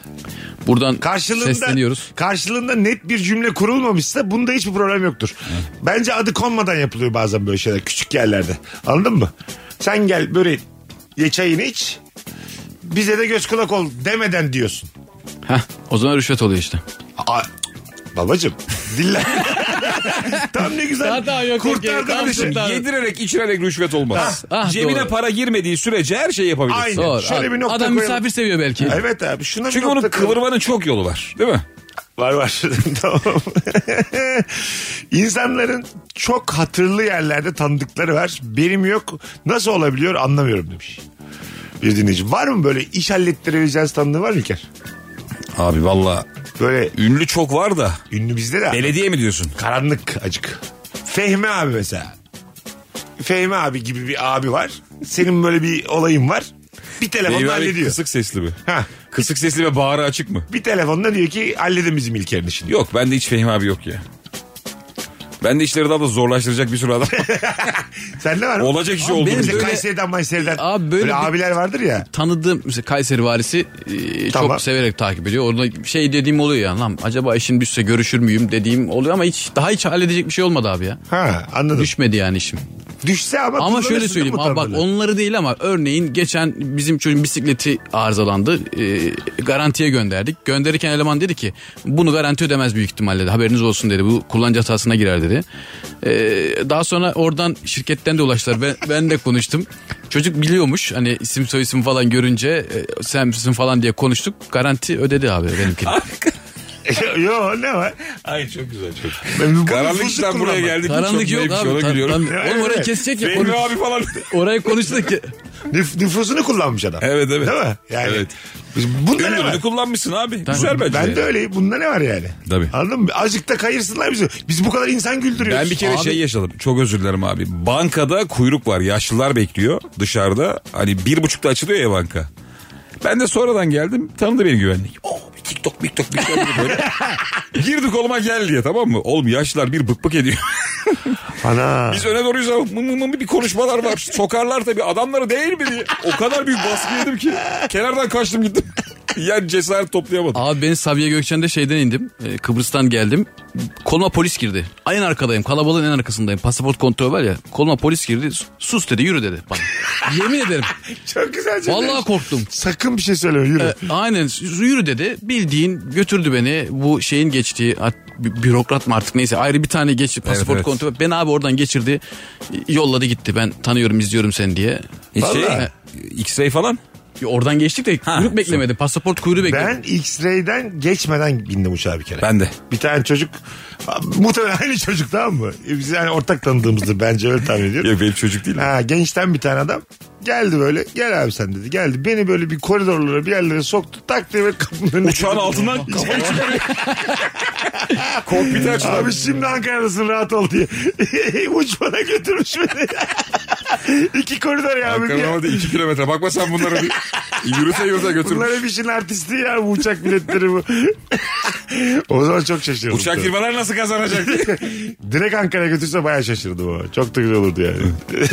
Speaker 3: Buradan
Speaker 2: Karşılığında,
Speaker 3: sesleniyoruz.
Speaker 2: karşılığında net bir cümle kurulmamışsa bunda hiçbir problem yoktur. Bence adı konmadan yapılıyor bazen böyle şeyler küçük yerlerde. Anladın mı? Sen gel böreği ye çayını iç. Bize de göz kulak ol demeden diyorsun.
Speaker 3: Heh, o zaman rüşvet oluyor işte.
Speaker 2: Aa, babacım
Speaker 3: [laughs]
Speaker 2: diller. Tam ne güzel.
Speaker 3: Daha- daha yok,
Speaker 2: Kurtardın
Speaker 3: okey, tam
Speaker 2: işi.
Speaker 3: kurtardın. Tabii.
Speaker 4: Yedirerek içirerek rüşvet olmaz.
Speaker 3: Ah, ah,
Speaker 4: Cebine
Speaker 3: doğru.
Speaker 4: para girmediği sürece her şeyi yapabilirsin.
Speaker 2: Aynen.
Speaker 3: Doğru.
Speaker 2: Şöyle bir nokta
Speaker 3: Adam
Speaker 2: koyalım.
Speaker 3: misafir seviyor belki.
Speaker 2: Evet abi şuna
Speaker 4: Çünkü
Speaker 2: bir
Speaker 4: onun
Speaker 2: nokta koyalım.
Speaker 4: kıvırmanın çok yolu var. Değil mi?
Speaker 2: Var var. [laughs] tamam. İnsanların çok hatırlı yerlerde tanıdıkları var. Benim yok. Nasıl olabiliyor anlamıyorum demiş. Bir dinleyici. Var mı böyle iş hallettirebileceğiniz tanıdığı var mı İlker?
Speaker 4: Abi valla
Speaker 2: Böyle
Speaker 4: ünlü çok var da.
Speaker 2: ünlü bizde de
Speaker 4: Belediye mi diyorsun?
Speaker 2: karanlık acık. Fehmi abi mesela. Fehmi abi gibi bir abi var. Senin böyle bir olayın var. Bir telefonla
Speaker 4: Eyvah,
Speaker 2: hallediyor.
Speaker 4: Kısık sesli mi?
Speaker 2: Ha.
Speaker 4: Kısık sesli ve bağrı açık mı?
Speaker 2: Bir telefonla diyor ki halledin bizim İlker'in işini.
Speaker 4: Yok bende hiç Fehmi abi yok ya. Ben de işleri daha da zorlaştıracak bir sürü adam.
Speaker 2: [laughs] Sen ne var?
Speaker 4: Olacak iş
Speaker 2: Abi
Speaker 4: oldu
Speaker 2: Benim
Speaker 4: bizde.
Speaker 2: de Kayseri'den Mayseri'den.
Speaker 3: E, Abi
Speaker 2: böyle,
Speaker 3: böyle bir-
Speaker 2: abiler vardır ya.
Speaker 3: tanıdığım mesela Kayseri valisi e,
Speaker 2: Tamam.
Speaker 3: çok severek takip ediyor. Orada şey dediğim oluyor ya lan acaba işin düşse görüşür müyüm dediğim oluyor ama hiç daha hiç halledecek bir şey olmadı abi ya.
Speaker 2: Ha anladım.
Speaker 3: Düşmedi yani işim.
Speaker 2: Düşse ama
Speaker 3: Ama
Speaker 2: kullanırsın
Speaker 3: şöyle
Speaker 2: değil
Speaker 3: söyleyeyim
Speaker 2: mi
Speaker 3: abi bak
Speaker 2: tabloları?
Speaker 3: onları değil ama örneğin geçen bizim çocuğun bisikleti arızalandı. E, garantiye gönderdik. Gönderirken eleman dedi ki bunu garanti ödemez büyük ihtimalle dedi. Haberiniz olsun dedi. Bu kullanıcı hatasına girer dedi. E, daha sonra oradan şirketten de ulaştılar. Ben, ben de konuştum. Çocuk biliyormuş hani isim soy isim falan görünce e, sen misin falan diye konuştuk. Garanti ödedi abi benimkini.
Speaker 2: [laughs] Yo ne var?
Speaker 4: Ay çok güzel çok.
Speaker 2: Ben bu- bu
Speaker 4: Karanlık
Speaker 2: fuzlu
Speaker 4: işten buraya
Speaker 2: kullanmam.
Speaker 4: geldik.
Speaker 3: Karanlık
Speaker 4: çok
Speaker 3: yok
Speaker 4: neymiş,
Speaker 3: abi.
Speaker 4: Ona
Speaker 3: Tan-
Speaker 4: gülüyorum.
Speaker 3: tan- oğlum oraya kesecek ya.
Speaker 4: şey Fehmi
Speaker 3: Konu,
Speaker 4: abi falan.
Speaker 3: oraya konuştuk ya.
Speaker 2: Nüf- nüfusunu kullanmış adam.
Speaker 4: Evet, evet.
Speaker 2: Değil mi? Yani.
Speaker 4: Evet.
Speaker 2: Biz- Bunda ne var?
Speaker 4: Ürününü kullanmışsın abi. Güzel bence.
Speaker 2: Ben de öyleyim. Bunda ne var yani?
Speaker 4: Tabii.
Speaker 2: Anladın mı? Azıcık da kayırsınlar bizi. Biz bu kadar insan güldürüyoruz.
Speaker 4: Ben bir kere
Speaker 3: Abi-
Speaker 4: şey yaşadım. Çok özür dilerim abi. Bankada kuyruk var. Yaşlılar bekliyor dışarıda. Hani bir buçukta açılıyor ya banka. Ben de sonradan geldim. Tanıdı beni güvenlik. Oo bir TikTok, TikTok, TikTok diye böyle. Girdi koluma gel diye tamam mı? Oğlum yaşlılar bir bık bık ediyor.
Speaker 2: Ana.
Speaker 4: Biz öne doğruyuz ama mı mı mı bir konuşmalar var. Sokarlar tabii adamları değil mi diye. O kadar büyük baskı yedim ki. Kenardan kaçtım gittim. [laughs] Yani cesaret toplayamadım.
Speaker 3: Abi ben Sabiha Gökçen'de şeyden indim. Ee, Kıbrıs'tan geldim. Koluma polis girdi. En arkadayım. Kalabalığın en arkasındayım. Pasaport kontrolü var ya. Koluma polis girdi. Sus dedi yürü dedi
Speaker 4: [laughs]
Speaker 3: bana. Yemin ederim.
Speaker 2: Çok güzel. cümle.
Speaker 3: Vallahi korktum.
Speaker 2: Sakın bir şey söyleme yürü.
Speaker 3: Ee, Aynen yürü dedi. Bildiğin götürdü beni. Bu şeyin geçtiği art- bi- bürokrat mı artık neyse ayrı bir tane geçti pasaport
Speaker 4: evet.
Speaker 3: kontrolü. Ben abi oradan geçirdi. Yolladı gitti. Ben tanıyorum izliyorum seni diye.
Speaker 4: Hiç şey,
Speaker 3: Vallahi.
Speaker 4: X-ray falan.
Speaker 3: Oradan geçtik de
Speaker 4: Ha,
Speaker 3: kuyruk beklemedi. Pasaport kuyruğu bekledi.
Speaker 2: ben X-Ray'den geçmeden bindim uçağa bir kere.
Speaker 4: Ben de.
Speaker 2: Bir tane çocuk muhtemelen aynı çocuk tamam mı? E, Biz yani ortak tanıdığımızdır bence öyle tahmin ediyorum.
Speaker 4: Yok benim çocuk değil.
Speaker 2: Ha, gençten bir tane adam geldi böyle gel abi sen dedi geldi beni böyle bir koridorlara bir yerlere soktu tak diye böyle kapının önüne
Speaker 4: Uçağın
Speaker 2: getirdi.
Speaker 4: altından şey [laughs] kokpiti açtı.
Speaker 2: Abi şimdi Ankara'dasın rahat ol diye. [laughs] Uçmana götürmüş beni. [laughs] İki koridor ya. abi.
Speaker 4: Ankara'nın ama 2 kilometre. Bakma sen bunları bir yürüse yürüse götürmüş.
Speaker 2: Bunlar hep işin artisti ya bu uçak biletleri bu. [laughs] o zaman çok şaşırdım.
Speaker 4: Uçak firmalar nasıl kazanacak? [laughs]
Speaker 2: Direkt Ankara'ya götürse bayağı şaşırdım ama. Çok da güzel olurdu yani.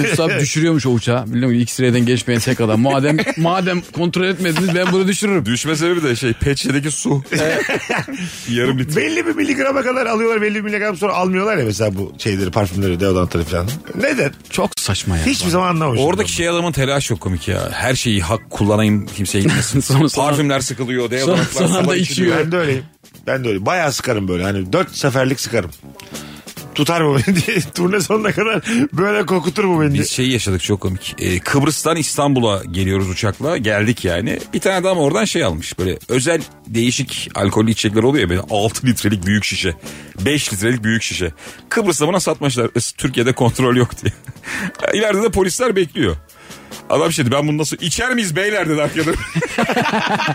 Speaker 3: Mustafa düşürüyormuş o uçağı. Biliyor musun? X-ray'den geçmeyen tek adam. Madem madem kontrol etmediniz ben bunu düşürürüm.
Speaker 4: Düşme sebebi de şey peçedeki su. [laughs] Yarım litre.
Speaker 2: belli bir miligrama kadar alıyorlar belli bir miligram sonra almıyorlar ya mesela bu şeyleri parfümleri deodorantları falan. Neden?
Speaker 3: Çok saçma ya.
Speaker 2: Hiçbir zaman anlamamışım.
Speaker 4: Oradaki şey adamın telaş çok komik ya. Her şeyi hak kullanayım [laughs] kimseye gitmesin.
Speaker 3: Sonra- sonra-
Speaker 4: Parfümler sıkılıyor.
Speaker 3: Son,
Speaker 4: deodorantlar
Speaker 3: son
Speaker 4: sabah
Speaker 3: anda
Speaker 4: içiliyor.
Speaker 3: içiyor.
Speaker 2: Ben de öyleyim. Ben de öyle. Bayağı sıkarım böyle. Hani dört seferlik sıkarım. Tutar mı beni diye. [laughs] Turne sonuna kadar böyle kokutur mu beni diye.
Speaker 4: Biz şeyi yaşadık çok komik. Ee, Kıbrıs'tan İstanbul'a geliyoruz uçakla. Geldik yani. Bir tane adam oradan şey almış. Böyle özel değişik alkollü içecekler oluyor ya. Böyle 6 litrelik büyük şişe. 5 litrelik büyük şişe. Kıbrıs'ta buna satmışlar. Is- Türkiye'de kontrol yok diye. [laughs] İleride de polisler bekliyor. Adam şey dedi ben bunu nasıl içer miyiz beyler dedi [laughs] arkada.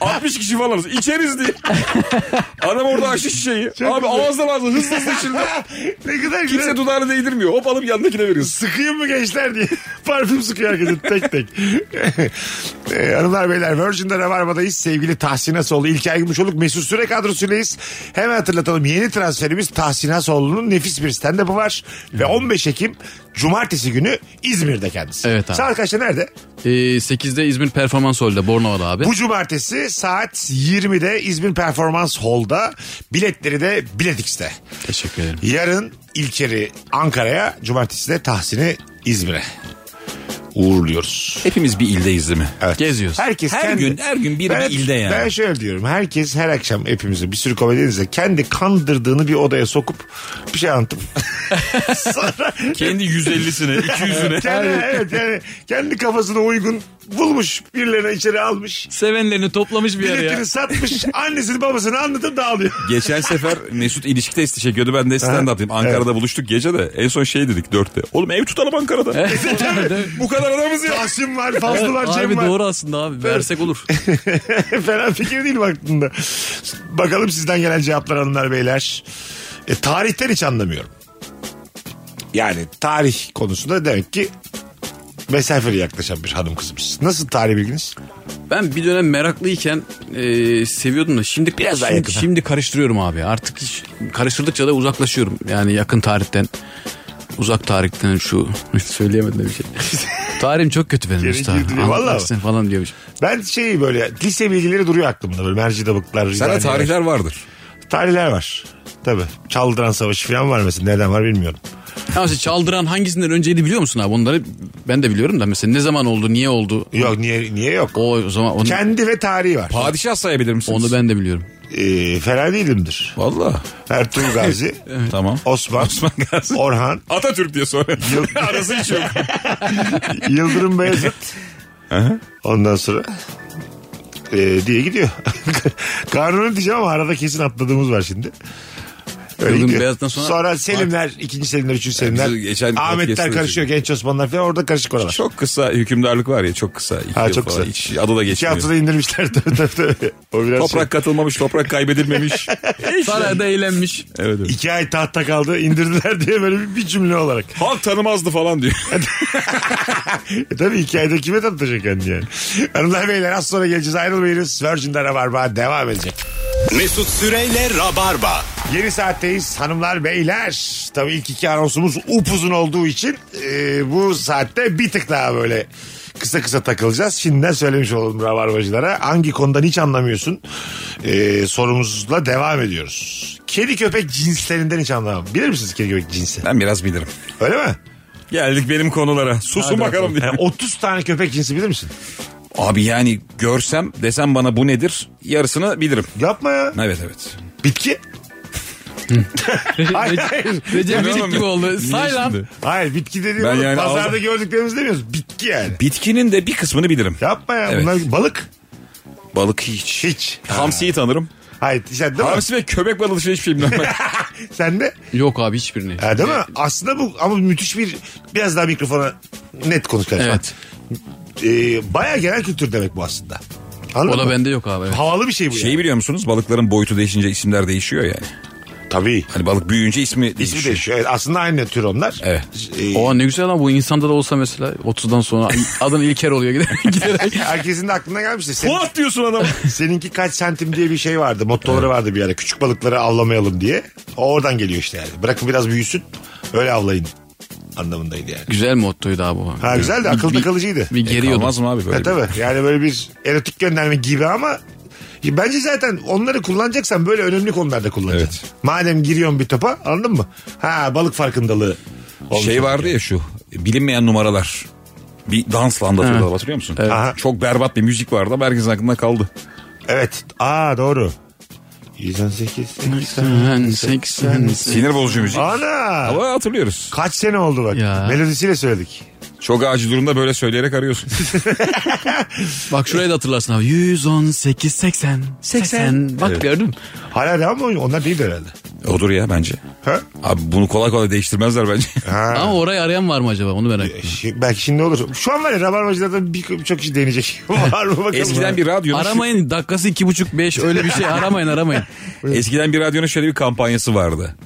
Speaker 4: 60 kişi falanız içeriz diye. Adam orada açtı şişeyi. Abi
Speaker 2: güzel.
Speaker 4: ağızdan ağzına hızlı hızlı
Speaker 2: [laughs]
Speaker 4: içildi.
Speaker 2: [laughs] ne kadar güzel.
Speaker 4: Kimse dudağını değdirmiyor. Hop alıp yanındakine veriyorsun.
Speaker 2: Sıkayım mı gençler diye. [laughs] Parfüm sıkıyor herkese tek [laughs] tek. ee, hanımlar beyler Virgin'de Rabarba'dayız. Sevgili Tahsin Asoğlu, İlker Gümüşoluk, Mesut Süre kadrosuylayız. Hemen hatırlatalım yeni transferimiz Tahsin Asoğlu'nun nefis bir stand-up'ı var. Ve 15 Ekim Cumartesi günü İzmir'de kendisi.
Speaker 3: Evet abi.
Speaker 2: Saat kaçta nerede?
Speaker 3: Ee, 8'de İzmir Performans Hall'da Bornova'da abi.
Speaker 2: Bu cumartesi saat 20'de İzmir Performans Hall'da. Biletleri de Biletix'te.
Speaker 3: Teşekkür ederim.
Speaker 2: Yarın İlker'i Ankara'ya, cumartesi de Tahsin'i İzmir'e uğurluyoruz.
Speaker 4: Hepimiz bir ildeyiz değil mi?
Speaker 2: Evet.
Speaker 3: Geziyoruz.
Speaker 2: Herkes
Speaker 4: Her
Speaker 2: kendi-
Speaker 4: gün- her gün bir-
Speaker 2: ben,
Speaker 4: bir ilde yani.
Speaker 2: Ben şöyle diyorum. Herkes her akşam hepimizi bir sürü komedyenizle kendi kandırdığını bir odaya sokup bir şey anlatıp
Speaker 4: [laughs]
Speaker 2: sonra [laughs]
Speaker 4: Kendi 150'sine, 200'üne.
Speaker 2: kendi, evet, yani kendi kafasına uygun bulmuş birilerini içeri almış.
Speaker 3: Sevenlerini toplamış bir yere ya.
Speaker 2: Biletini satmış. Annesini babasını anlatıp dağılıyor.
Speaker 4: Geçen sefer Mesut ilişki testi çekiyordu. Ben de stand up'tayım. Ankara'da buluştuk gece de. En son şey dedik dörtte. Oğlum ev tutalım Ankara'da. [laughs] Bu kadar adamız ya.
Speaker 2: Tahsin var, Fazlı var, Cem
Speaker 3: abi
Speaker 2: var.
Speaker 3: doğru aslında abi. Versek olur.
Speaker 2: [laughs] Fena fikir değil baktığında. Bakalım sizden gelen cevaplar hanımlar beyler. E, tarihten hiç anlamıyorum. Yani tarih konusunda demek ki mesafeli yaklaşan bir hanım kızımız. Nasıl tarih bilginiz?
Speaker 3: Ben bir dönem meraklıyken e, seviyordum da şimdi
Speaker 2: Biraz daha
Speaker 3: şimdi,
Speaker 2: yakına.
Speaker 3: şimdi karıştırıyorum abi. Artık hiç- karıştırdıkça da uzaklaşıyorum. Yani yakın tarihten uzak tarihten şu [laughs] söyleyemedim de
Speaker 2: [laughs]
Speaker 3: bir şey. Tarihim çok kötü benim
Speaker 2: Geri
Speaker 3: usta.
Speaker 2: girdi diyor, vallahi
Speaker 3: Anlatmak
Speaker 2: mi?
Speaker 3: istemiyorum falan diyormuş.
Speaker 2: Ben şey böyle lise bilgileri duruyor aklımda böyle mercidabıklar.
Speaker 4: Sana
Speaker 2: rizaniler.
Speaker 4: tarihler vardır.
Speaker 2: Tarihler var. Tabii. Çaldıran Savaşı falan var mesela. Nereden var bilmiyorum.
Speaker 3: Ama işte çaldıran hangisinden önceydi biliyor musun abi? Onları ben de biliyorum da mesela ne zaman oldu, niye oldu?
Speaker 2: Yok niye niye yok.
Speaker 3: O, o zaman onu,
Speaker 2: Kendi ve tarihi var.
Speaker 4: Padişah sayabilir misiniz?
Speaker 3: onu ben de biliyorum.
Speaker 2: Ee, fena değilimdir.
Speaker 4: Valla.
Speaker 2: Ertuğrul
Speaker 4: [laughs]
Speaker 2: Gazi,
Speaker 4: Tamam.
Speaker 2: Osman,
Speaker 4: Osman Gazi.
Speaker 2: Orhan,
Speaker 4: Atatürk diye sonra.
Speaker 2: Yıl-
Speaker 4: Arası hiç yok.
Speaker 2: [laughs] Yıldırım Beyazıt. Ondan sonra ee, diye gidiyor. [laughs] Kanunu diyeceğim ama arada kesin atladığımız var şimdi. Öyle
Speaker 3: Yıldırım
Speaker 2: gidiyor.
Speaker 3: Beyazıt'tan sonra-
Speaker 2: sonra... Selimler, ikinci Selimler, üçüncü Selimler.
Speaker 4: biz geçen
Speaker 2: Ahmetler
Speaker 4: podcast'te
Speaker 2: karışıyor, genç Osmanlılar falan orada karışık oralar.
Speaker 4: [laughs] Çok kısa hükümdarlık var ya çok kısa. İki
Speaker 2: Ha,
Speaker 4: yıl
Speaker 2: çok
Speaker 4: falan.
Speaker 2: kısa.
Speaker 4: Hiç adı da
Speaker 2: İki
Speaker 4: geçmiyor.
Speaker 2: haftada indirmişler tabii tabii tabii. O biraz şey.
Speaker 4: Toprak katılmamış,
Speaker 2: [laughs]
Speaker 4: toprak kaybedilmemiş.
Speaker 3: Sarayda eğlenmiş.
Speaker 4: evet, evet.
Speaker 2: şey. İki ay tahta kaldı indirdiler diye böyle bir, bir cümle olarak.
Speaker 4: Halk tanımazdı falan diyor.
Speaker 2: E tabii iki ayda kime tanıtacak kendini yani. Hanımlar beyler az sonra geleceğiz ayrılmayınız. Virgin'de Rabarba devam edecek.
Speaker 1: Mesut Süreyle Rabarba.
Speaker 2: Yeni saatteyiz hanımlar beyler. Tabii ilk iki anonsumuz upuzun olduğu için e, bu saatte bir tık daha böyle kısa kısa takılacağız. Şimdiden söylemiş olalım rabarbacılara. Hangi konudan hiç anlamıyorsun e, sorumuzla devam ediyoruz. Kedi köpek cinslerinden hiç anlamam. Bilir misiniz kedi köpek cinsi?
Speaker 4: Ben biraz bilirim.
Speaker 2: Öyle mi?
Speaker 4: Geldik benim konulara. Susun bakalım diye.
Speaker 2: Yani 30 tane köpek cinsi bilir misin?
Speaker 4: Abi yani görsem desem bana bu nedir yarısını bilirim.
Speaker 2: Yapma ya.
Speaker 4: Evet evet.
Speaker 2: Bitki. hayır, hayır.
Speaker 3: Recep
Speaker 4: Tamam
Speaker 3: İvedik
Speaker 4: mı?
Speaker 3: gibi oldu.
Speaker 4: Niye
Speaker 3: Say lan.
Speaker 4: şimdi?
Speaker 2: Hayır bitki dediğim
Speaker 4: Ben
Speaker 2: oğlum,
Speaker 4: yani
Speaker 2: pazarda
Speaker 4: aldım.
Speaker 2: gördük demiyoruz demiyoruz. Bitki yani.
Speaker 4: Bitkinin de bir kısmını bilirim.
Speaker 2: Yapma ya.
Speaker 4: Evet.
Speaker 2: Bunlar balık.
Speaker 4: Balık hiç.
Speaker 2: Hiç.
Speaker 4: Hamsiyi tanırım.
Speaker 2: Hayır sen değil mi?
Speaker 4: Hamsi ve köpek balığı dışında hiçbir şey bilmem.
Speaker 2: Sen de.
Speaker 3: Yok abi hiçbirini.
Speaker 2: Ha, değil mi? Aslında bu ama müthiş bir biraz daha mikrofona net konuşalım.
Speaker 3: Evet.
Speaker 2: Ee, Baya genel kültür demek bu aslında. Anladın
Speaker 3: O da
Speaker 2: mı?
Speaker 3: bende yok abi. evet.
Speaker 2: Havalı bir şey bu.
Speaker 4: [laughs] Şeyi
Speaker 2: yani.
Speaker 4: biliyor musunuz? Balıkların boyutu değişince isimler değişiyor yani.
Speaker 2: Tabii.
Speaker 4: Hani balık büyüyünce ismi değişiyor.
Speaker 2: İsmi değişiyor. Evet, aslında aynı tür onlar.
Speaker 4: şey. Evet.
Speaker 2: Ee,
Speaker 3: Oha ne güzel lan bu insanda da olsa mesela
Speaker 2: [laughs]
Speaker 3: 30'dan sonra adın İlker oluyor [laughs] giderek. giderek.
Speaker 2: herkesin de aklına gelmiştir. Senin-
Speaker 4: Fuat diyorsun adam.
Speaker 2: [laughs] Seninki kaç santim diye bir şey vardı. Mottoları vardı bir yere. Küçük balıkları avlamayalım diye. O oradan geliyor işte yani. Bırakın biraz büyüsün. Öyle avlayın anlamındaydı yani.
Speaker 3: Güzel mottoydu abi bu.
Speaker 2: Ha güzel de akılda kalıcıydı.
Speaker 3: Bir geriyordu.
Speaker 4: Olmaz mı abi böyle?
Speaker 2: Ha, tabii. Yani böyle bir erotik gönderme gibi ama ya bence zaten onları kullanacaksan böyle önemli konularda kullanacaksın. Madem giriyorsun bir topa anladın mı? Ha balık farkındalığı.
Speaker 4: bir-
Speaker 2: olmuş
Speaker 4: Şey
Speaker 2: olacak.
Speaker 4: vardı ya şu bilinmeyen numaralar. Bir dansla anlatıyorlar hatırlıyor musun?
Speaker 2: Aha.
Speaker 4: Çok berbat bir müzik vardı ama herkesin aklında kaldı.
Speaker 2: Evet. Aa doğru. 118.
Speaker 3: 80.
Speaker 4: Sinir bozucu müzik.
Speaker 2: Ana.
Speaker 4: Ama hatırlıyoruz.
Speaker 2: Kaç sene oldu bak.
Speaker 3: Ya.
Speaker 2: Melodisiyle söyledik.
Speaker 4: Çok acil durumda böyle söyleyerek [laughs] arıyorsun.
Speaker 3: Bak şurayı da hatırlarsın abi. 118 80 80. Bak gördün mü?
Speaker 2: Hala devam mı oynuyor? Onlar değil herhalde.
Speaker 4: Odur ya bence.
Speaker 2: Ha?
Speaker 4: Abi bunu kolay kolay değiştirmezler [laughs] bence.
Speaker 3: Ama orayı arayan var mı acaba onu
Speaker 2: E,
Speaker 3: merak ettim.
Speaker 2: Şi- belki şimdi olur. Şu an var ya rabarbacılardan bir, birçok kişi deneyecek. [laughs] var mı bakalım.
Speaker 4: Eskiden bir radyonun
Speaker 3: Aramayın dakikası iki buçuk beş öyle bir şey aramayın
Speaker 2: [laughs]
Speaker 3: aramayın.
Speaker 4: Eskiden bir radyonun şöyle bir kampanyası vardı.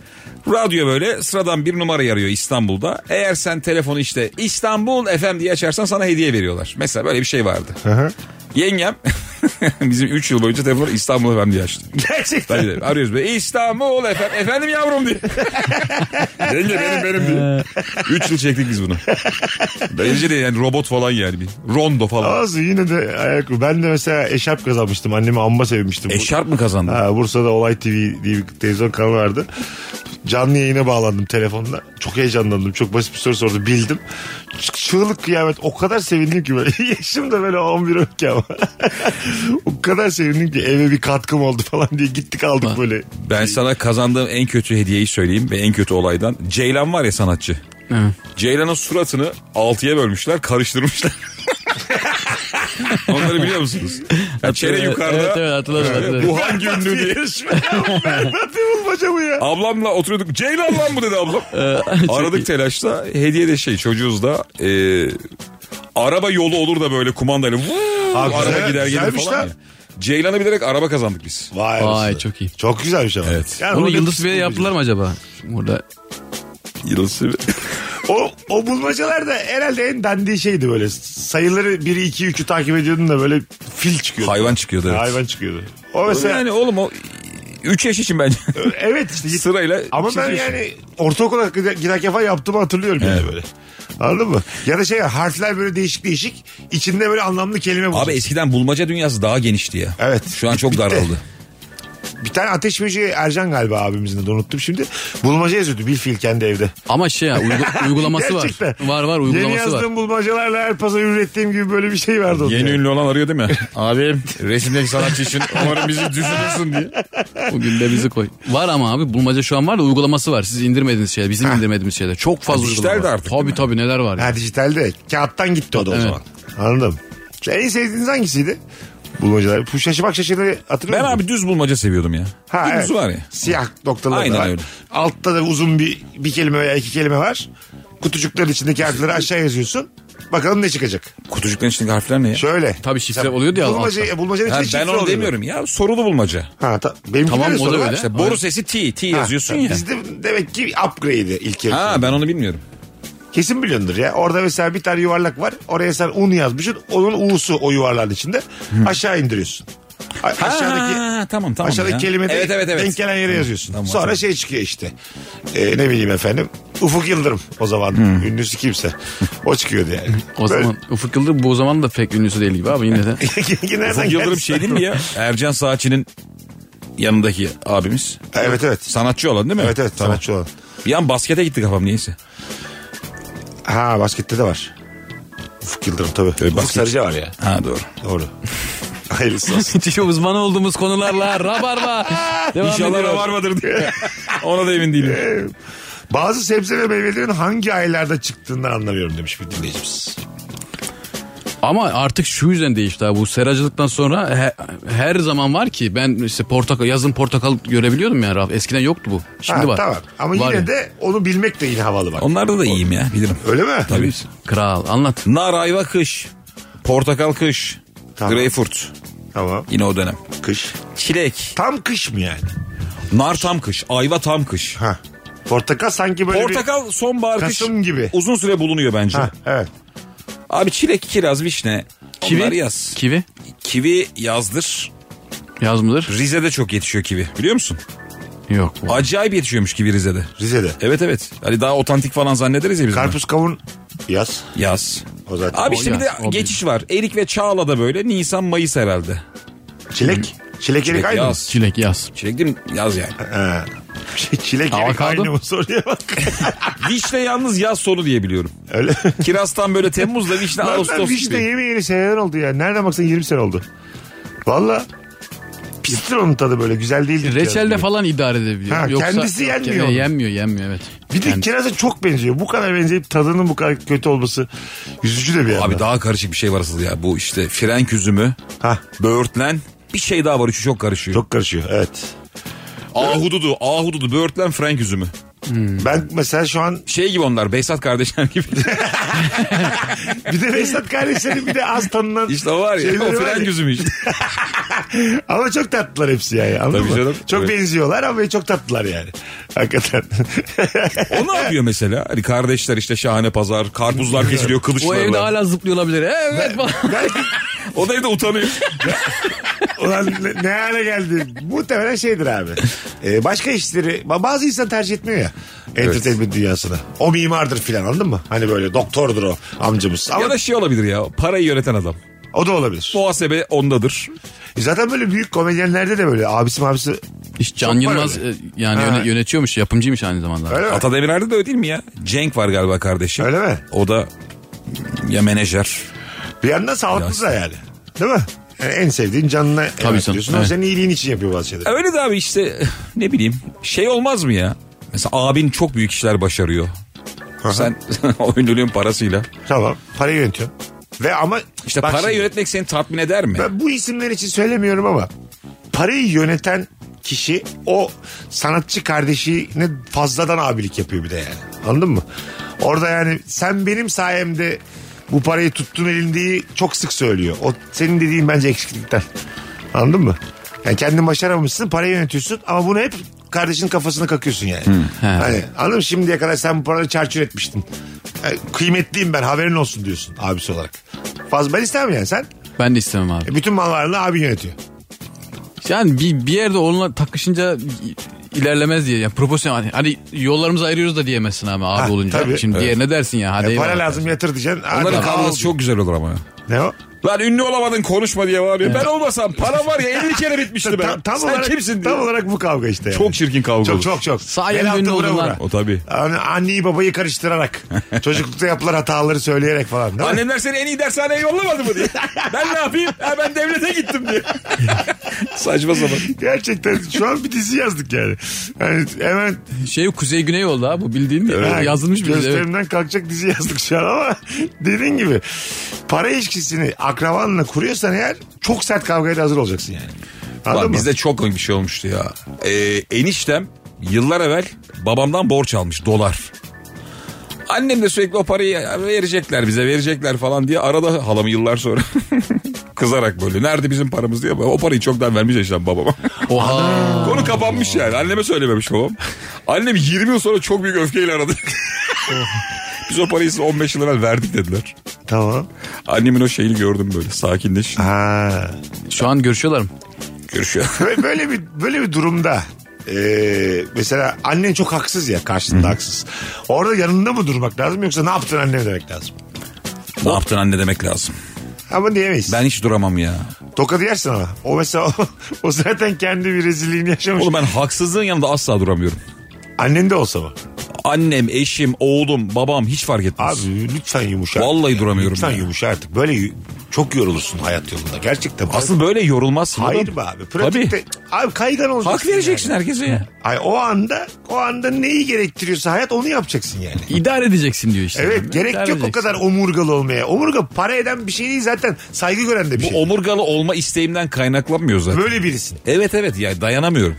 Speaker 4: Radyo böyle sıradan bir numara arıyor İstanbul'da. Eğer sen telefonu işte İstanbul FM diye açarsan sana hediye veriyorlar. Mesela böyle bir şey vardı. Yengem [laughs] bizim 3 yıl boyunca telefonu İstanbul FM diye [laughs] açtı.
Speaker 2: Gerçekten.
Speaker 4: Tabii de arıyoruz böyle İstanbul FM efendim yavrum diye. [laughs] Yenge benim benim diye. 3 yıl çektik biz bunu. Bence de yani robot falan yani bir rondo falan.
Speaker 2: Olsun yine de ayak Ben de mesela eşarp kazanmıştım. Annemi amma sevmiştim.
Speaker 4: Eşarp E, mı kazandı?
Speaker 2: Ha, Bursa'da Olay TV diye bir televizyon kanalı vardı. Canlı yayına bağlandım telefonla. Çok heyecanlandım. Çok basit bir soru sordu. Bildim. Ç- Çığlık kıyamet. O kadar sevindim ki böyle. [laughs] Yaşım da böyle 11 12 ama. [laughs] o kadar sevindim ki eve bir katkım oldu falan diye gittik aldık böyle.
Speaker 3: [laughs] Şey-
Speaker 4: Ben sana kazandığım en kötü hediyeyi söyleyeyim ve en kötü olaydan. Ceylan var ya sanatçı. Ceylan'ın suratını altıya bölmüşler,
Speaker 3: [laughs]
Speaker 4: karıştırmışlar. Onları biliyor musunuz? Yani çene yukarıda.
Speaker 3: Evet evet hatırladım hatırladım.
Speaker 4: Bu hangi ünlü diye.
Speaker 2: [laughs] Nasıl bulmaca bu ya?
Speaker 4: Ablamla oturuyorduk. Ceylan lan bu dedi
Speaker 3: [laughs]
Speaker 4: ablam. Aradık telaşla. Hediye de şey çocuğuz da e, araba yolu olur da böyle kumandayla. Vuu,
Speaker 2: Ha, güzel,
Speaker 4: araba gider gelir
Speaker 2: güzelmiş
Speaker 4: falan.
Speaker 2: lan.
Speaker 4: ya. Ceylan'ı bilerek araba kazandık biz.
Speaker 2: Vay,
Speaker 3: Vay,
Speaker 2: arasında.
Speaker 3: çok iyi.
Speaker 2: Çok güzelmiş ama.
Speaker 4: Evet.
Speaker 2: Yani
Speaker 3: Bunu
Speaker 2: orada
Speaker 3: Yıldız
Speaker 2: kısmı
Speaker 3: Bey'e
Speaker 2: güzel.
Speaker 3: yaptılar mı acaba? Burada
Speaker 4: Yıldız
Speaker 2: O, o bulmacalar da herhalde en dandiği şeydi böyle. Sayıları 1 2 3'ü takip ediyordun da böyle fil çıkıyordu.
Speaker 4: Hayvan çıkıyordu, evet.
Speaker 2: Hayvan çıkıyordu. O mesela
Speaker 4: Yani oğlum o 3 yaş için bence
Speaker 2: evet işte
Speaker 4: sırayla
Speaker 2: Ama ben
Speaker 4: çiziyorsun.
Speaker 2: yani ortaokula gide- giderken falan yaptığımı hatırlıyorum yani böyle. Anladın mı? Ya da şey harfler böyle değişik değişik içinde böyle anlamlı kelime bulacaksın.
Speaker 4: Abi eskiden bulmaca dünyası daha genişti ya.
Speaker 2: Evet.
Speaker 4: Şu an çok
Speaker 2: Bitti. [laughs]
Speaker 4: daraldı.
Speaker 2: Bir tane ateş böceği Ercan galiba abimizin de unuttum şimdi. Bulmaca yazıyordu bir fil kendi evde.
Speaker 3: Ama şey ya
Speaker 2: [laughs]
Speaker 3: uygu- uygulaması var.
Speaker 2: Gerçekten.
Speaker 3: Var var
Speaker 2: Yeni
Speaker 3: uygulaması var.
Speaker 2: yazdığım bulmacalarla her pazar ürettiğim gibi böyle bir şey vardı. onun
Speaker 4: Yeni
Speaker 2: yani.
Speaker 4: ünlü olan arıyor değil mi? [laughs] Abim resimdeki sanatçı için umarım bizi düşünürsün diye.
Speaker 3: Bugün de bizi koy. Var ama abi bulmaca şu an var da uygulaması var. Siz indirmediğiniz şeyler bizim indirmediğimiz şeyler. Çok fazla
Speaker 4: E, dijital
Speaker 3: uygulama
Speaker 4: de
Speaker 3: var.
Speaker 4: artık, değil
Speaker 3: tabii
Speaker 4: mi?
Speaker 3: tabii neler var. ya.
Speaker 2: Ha dijitalde. Kağıttan gitti o da o
Speaker 3: Evet.
Speaker 2: zaman. Anladım. Şu en sevdiğiniz hangisiydi? Bulmacalar. Bu şaşı bak şaşırları hatırlıyor
Speaker 4: Ben
Speaker 2: musun?
Speaker 4: abi düz bulmaca seviyordum ya.
Speaker 2: Ha,
Speaker 4: Düz
Speaker 2: evet.
Speaker 4: var ya.
Speaker 2: Siyah noktaları
Speaker 4: Aynen
Speaker 2: var.
Speaker 4: öyle.
Speaker 2: Altta da uzun bir, bir kelime veya iki kelime var. Kutucukların içindeki harfleri aşağı yazıyorsun. Bakalım ne çıkacak.
Speaker 4: Kutucukların içindeki harfler ne ya?
Speaker 2: Şöyle.
Speaker 3: Tabii şifre oluyordu ya
Speaker 2: Bulmaca,
Speaker 3: altta.
Speaker 2: bulmacanın
Speaker 4: Ha,
Speaker 2: içinde şifre
Speaker 4: ben onu
Speaker 2: oluyordu.
Speaker 4: demiyorum ya. Sorulu bulmaca.
Speaker 2: Ha, ta- benimki
Speaker 3: Tamam,
Speaker 2: de
Speaker 3: o da
Speaker 2: soru var.
Speaker 3: öyle.
Speaker 4: İşte boru sesi T. T
Speaker 2: Ha,
Speaker 4: yazıyorsun ya.
Speaker 2: Bizde demek ki upgrade'i ilk yarısı.
Speaker 4: Ha ben onu bilmiyorum.
Speaker 2: Kesin biliyordur ya. Orada mesela bir tane yuvarlak var. Oraya sen un yazmışsın. Onun U'su o yuvarlağın içinde. Aşağı indiriyorsun. A- aşağıdaki
Speaker 4: Ha, tamam tamam
Speaker 2: aşağıdaki
Speaker 4: ya.
Speaker 2: kelime
Speaker 4: Evet evet evet.
Speaker 2: denk gelen yere yazıyorsun.
Speaker 4: Tamam,
Speaker 2: Sonra
Speaker 4: tamam.
Speaker 2: şey çıkıyor işte. Ee, ne bileyim efendim. Ufuk Yıldırım o zaman.
Speaker 4: Hmm.
Speaker 2: Ünlüsü kimse. O çıkıyordu
Speaker 4: [laughs]
Speaker 2: yani. [laughs]
Speaker 3: O zaman Ufuk Yıldırım bu zaman da pek ünlüsü değil gibi
Speaker 4: [laughs]
Speaker 3: abi yine de.
Speaker 2: Böyle- nereden
Speaker 4: Ufuk Yıldırım
Speaker 2: geldi?
Speaker 4: şey değil mi ya? Ercan Saatçı'nın yanındaki abimiz.
Speaker 2: [laughs] Evet evet.
Speaker 4: Sanatçı olan değil mi?
Speaker 2: Evet evet
Speaker 4: Tamam.
Speaker 2: sanatçı olan.
Speaker 4: Bir an baskete gitti kafam neyse.
Speaker 2: Ha baskette de var. Ufuk Yıldırım tabii. Ufuk
Speaker 4: basket-
Speaker 2: Sarıca var ya.
Speaker 4: Ha doğru.
Speaker 2: Doğru. [laughs] Hayırlısı olsun.
Speaker 3: Müthiş uzman olduğumuz konularla [laughs] rabarba. Devam
Speaker 4: İnşallah
Speaker 3: ediyor.
Speaker 4: varmadır diye. [laughs] Ona da emin değilim.
Speaker 2: Bazı sebze ve meyvelerin hangi aylarda çıktığından anlamıyorum demiş bir dinleyicimiz.
Speaker 3: Ama artık şu yüzden değişti abi. Bu seracılıktan sonra he- her zaman var ki ben işte portakal yazın portakal görebiliyordum ya Raf. Eskiden yoktu bu. Şimdi
Speaker 2: Ha,
Speaker 3: var.
Speaker 2: Tamam ama
Speaker 3: Var
Speaker 2: yine
Speaker 3: ya.
Speaker 2: de onu bilmek de yine havalı bak.
Speaker 4: Onlarda da iyiyim ya bilirim.
Speaker 2: Öyle mi?
Speaker 4: Tabii.
Speaker 3: Kral anlat.
Speaker 4: Nar ayva kış. Portakal kış.
Speaker 2: Tamam.
Speaker 4: Greyfurt.
Speaker 2: Tamam.
Speaker 4: Yine o dönem.
Speaker 2: Kış.
Speaker 4: Çilek.
Speaker 2: Tam kış mı yani?
Speaker 4: Nar tam kış. Ayva tam kış.
Speaker 2: Ha. Portakal sanki böyle bir...
Speaker 4: Portakal sonbahar kış.
Speaker 2: Kasım gibi.
Speaker 4: Uzun süre bulunuyor bence.
Speaker 2: Ha, evet.
Speaker 4: Abi çilek, kiraz, vişne. Kivi. Onlar
Speaker 3: Kivi.
Speaker 4: yaz.
Speaker 3: Kivi.
Speaker 4: Kivi yazdır.
Speaker 3: Yaz mıdır?
Speaker 4: Rize'de çok yetişiyor kivi. Biliyor musun?
Speaker 3: Yok. bu.
Speaker 4: Acayip yetişiyormuş kivi Rize'de.
Speaker 2: Rize'de.
Speaker 4: Evet evet. Hani daha otantik falan zannederiz ya biz. bunu.
Speaker 2: Karpuz kavun yaz.
Speaker 4: Yaz.
Speaker 2: O zaten.
Speaker 4: Abi işte
Speaker 3: O
Speaker 4: bir de
Speaker 3: yaz, o
Speaker 4: geçiş var. Erik ve Çağla da böyle Nisan Mayıs herhalde.
Speaker 2: Çilek. Çilek erik aynı mı?
Speaker 4: yaz.
Speaker 3: Çilek yaz.
Speaker 4: Çilek değil mi? Yaz yani.
Speaker 2: Ha. Şey, [laughs] çilek erik
Speaker 3: Avokado.
Speaker 2: aynı mı [laughs] soruya bak.
Speaker 4: Vişne yalnız yaz sonu diye biliyorum.
Speaker 2: Öyle.
Speaker 4: Kirastan böyle Temmuz'da vişne
Speaker 2: Ağustos [laughs] ben
Speaker 4: Ağustos
Speaker 2: vişne
Speaker 4: gibi.
Speaker 2: yemeyeli seneler oldu ya. Nereden baksan 20 sene oldu. Valla. Pistir onun tadı böyle güzel değildir.
Speaker 3: Reçelde
Speaker 2: kiraz.
Speaker 3: falan idare edebiliyor.
Speaker 2: Ha, kendisi yenmiyor
Speaker 3: Yok, e,
Speaker 2: onun.
Speaker 3: Yenmiyor yenmiyor evet.
Speaker 2: Bir de
Speaker 3: Yani
Speaker 2: kiraza çok benziyor. Bu kadar benzeyip tadının bu kadar kötü olması yüzücü de bir yandan.
Speaker 4: Abi daha karışık bir şey var asıl ya. Bu işte frenk üzümü,
Speaker 2: Hah.
Speaker 4: böğürtlen bir şey daha var. Üçü çok karışıyor.
Speaker 2: Çok karışıyor evet.
Speaker 4: Ahududu, ahududu, böğürtlen, frenk üzümü.
Speaker 2: Ben mesela şu an
Speaker 4: Şey gibi onlar Beysat kardeşler gibi. [laughs]
Speaker 2: bir de Vesat kardeşlerin bir de az tanınan
Speaker 4: işte o var ya
Speaker 2: şeyleri
Speaker 4: o
Speaker 2: var ya.
Speaker 4: frenk üzümü işte.
Speaker 2: Ama çok tatlılar hepsi yani. Anladın
Speaker 4: Tabii
Speaker 2: mı?
Speaker 4: canım.
Speaker 2: Çok
Speaker 4: Evet.
Speaker 2: benziyorlar ama çok tatlılar yani. Hakikaten.
Speaker 4: [laughs] O ne yapıyor mesela? Hani kardeşler işte şahane pazar,
Speaker 3: [laughs]
Speaker 4: karpuzlar kesiliyor
Speaker 3: o
Speaker 4: kılıçlarla.
Speaker 3: evde hala zıplıyor olabilir. Evet. falan.
Speaker 2: Belki
Speaker 4: O da evde utanıyor.
Speaker 2: ulan ne, ne hale geldi. Muhtemelen şeydir abi. Ee, başka işleri ba- bazı insan tercih etmiyor ya. Entertainment dünyasını. O mimardır filan anladın mı? Hani böyle doktordur o amcamız. Ama
Speaker 4: ya da şey olabilir ya. Parayı yöneten adam.
Speaker 2: o da olabilir. E,
Speaker 4: Muhasebe ondadır.
Speaker 2: Zaten böyle büyük komedyenlerde de böyle abisi mabisi
Speaker 3: İşte Can
Speaker 2: Çok var
Speaker 3: Yılmaz
Speaker 2: öyle.
Speaker 3: e, yani
Speaker 2: Ha.
Speaker 3: yöne- yönetiyormuş yapımcıymış aynı zamanda.
Speaker 2: öyle mi?
Speaker 4: Atademirer'de de öyle değil mi ya? Cenk var galiba kardeşim.
Speaker 2: Öyle mi?
Speaker 4: O da ya menajer.
Speaker 2: Bir yandan sağlıklı da yani. Değil mi? Yani en sevdiğin canına
Speaker 3: Tabii
Speaker 2: emanet
Speaker 3: canım,
Speaker 2: ediyorsun. Ama
Speaker 3: evet.
Speaker 2: senin iyiliğin için yapıyor bazı şeyleri.
Speaker 4: Öyle de abi işte ne bileyim şey olmaz mı ya? Mesela abin çok büyük işler başarıyor. Sen [laughs] o ünlülüğün parasıyla.
Speaker 2: Tamam. Parayı yönetiyorsun. Ve ama
Speaker 4: İşte
Speaker 2: bak
Speaker 4: para
Speaker 2: şimdi,
Speaker 4: yönetmek seni tatmin eder mi?
Speaker 2: ben bu isimler için söylemiyorum ama parayı yöneten kişi o sanatçı kardeşine fazladan abilik yapıyor bir de yani. Anladın mı? Orada yani sen benim sayemde bu parayı tuttun elindeyi çok sık söylüyor. O senin dediğin bence eksiklikten. Anladın mı? Yani kendin başaramamışsın parayı yönetiyorsun ama bunu hep kardeşinin kafasına kakıyorsun yani. Hani anladın mı? Şimdiye kadar sen bu parayı çarçur etmiştin. Yani kıymetliyim ben haberin olsun diyorsun abisi olarak. Fazla ben istemem yani sen.
Speaker 3: Ben de istemem abi.
Speaker 2: E, bütün mal varlığını abi yönetiyor. E,
Speaker 3: Yani bir, bir yerde onunla takışınca ilerlemez diye. Yani proporsiyon hani, hani yollarımızı ayırıyoruz da diyemezsin ama abi
Speaker 2: Ha,
Speaker 3: olunca.
Speaker 2: tabii.
Speaker 3: Şimdi diğerine dersin ya. Hadi
Speaker 2: E, para
Speaker 3: eyvallah.
Speaker 2: lazım yatır diyeceksin.
Speaker 4: Onların
Speaker 2: Hadi, al.
Speaker 4: kavgası çok güzel olur ama.
Speaker 2: Ne o?
Speaker 4: Lan ünlü olamadın konuşma diye bağırıyor. Ben olmasam para var ya 50 kere bitmişti be.
Speaker 2: Tam, tam
Speaker 4: Sen
Speaker 2: olarak,
Speaker 4: kimsin diye.
Speaker 2: Tam olarak bu kavga işte. yani.
Speaker 4: Çok çirkin kavga
Speaker 2: Çok
Speaker 4: olur.
Speaker 2: çok çok.
Speaker 3: Sayende
Speaker 2: El altı
Speaker 3: ünlü
Speaker 2: vura
Speaker 3: oldun lan.
Speaker 2: vura.
Speaker 4: O tabii.
Speaker 2: Anne- anneyi babayı
Speaker 4: [laughs]
Speaker 2: karıştırarak. Çocuklukta yapılan hataları söyleyerek falan. Değil mi?
Speaker 4: Annemler seni en iyi dershaneye yollamadı mı diye. ben ne yapayım? Ha, ben devlete gittim diye. Saçma sapan.
Speaker 2: Gerçekten şu an bir dizi yazdık yani. Yani hemen
Speaker 3: Şey Kuzey Güney oldu abi. Bu bildiğin
Speaker 2: ha,
Speaker 3: yazılmış bir şey. dizi, evet.
Speaker 2: Gösterimden kalkacak dizi yazdık şu an ama [laughs] dediğin gibi para ilişkisini akrabanla kuruyorsan eğer çok sert kavgaya da hazır olacaksın yani. Anladın
Speaker 4: Lan
Speaker 2: mı?
Speaker 4: bizde çok komik bir şey olmuştu ya. Ee, eniştem yıllar evvel babamdan borç almış dolar. Annem de sürekli o parayı verecekler bize verecekler falan diye arada halamı yıllar sonra [laughs] kızarak böyle nerede bizim paramız diye o parayı çoktan vermiş eşlem [laughs] babama.
Speaker 3: Oha.
Speaker 4: Konu kapanmış yani anneme söylememiş babam. Annem 20 yıl sonra çok büyük öfkeyle aradı. [laughs] Biz o parayı size 15 yıl evvel verdik dediler.
Speaker 2: Tamam.
Speaker 4: Annemin o şeyini gördüm böyle sakinleş.
Speaker 2: Ha.
Speaker 3: Şu an görüşüyorlar mı?
Speaker 4: Görüşüyor.
Speaker 2: Böyle, böyle bir böyle bir durumda eee, mesela annen çok haksız ya karşında haksız. Orada yanında mı durmak lazım yoksa ne yaptın anne demek lazım.
Speaker 4: ne yaptın anne demek lazım.
Speaker 2: Ama diyemeyiz.
Speaker 4: Ben hiç duramam ya.
Speaker 2: Tokadı yersin ama. O mesela o, o zaten kendi bir rezilliğini yaşamış.
Speaker 4: Oğlum ben haksızlığın yanında asla duramıyorum.
Speaker 2: Annen de olsa mı?
Speaker 4: Annem, eşim, oğlum, babam hiç fark etmez.
Speaker 2: Abi lütfen yumuşa.
Speaker 4: Vallahi duramıyorum
Speaker 2: Lütfen
Speaker 4: ya.
Speaker 2: yumuşa artık. Böyle yu- çok yorulursun hayat yolunda. Gerçekten.
Speaker 4: Asıl böyle yorulmazsın.
Speaker 2: Hayır
Speaker 4: oğlum.
Speaker 2: be abi. Pratikte,
Speaker 4: Tabii.
Speaker 2: Abi kaygan olacaksın.
Speaker 4: Hak vereceksin
Speaker 2: yani.
Speaker 4: herkese ya.
Speaker 2: Ay, o anda o anda neyi gerektiriyorsa hayat onu yapacaksın yani.
Speaker 3: İdare edeceksin diyor işte.
Speaker 2: Evet
Speaker 3: Yani.
Speaker 2: gerek
Speaker 3: İdare
Speaker 2: yok o
Speaker 3: edeceksin.
Speaker 2: kadar omurgalı olmaya. Omurga para eden bir şey değil zaten. Saygı gören de bir
Speaker 4: Bu
Speaker 2: şey.
Speaker 4: omurgalı olma isteğimden kaynaklanmıyor zaten.
Speaker 2: Böyle birisin.
Speaker 4: Evet evet ya dayanamıyorum.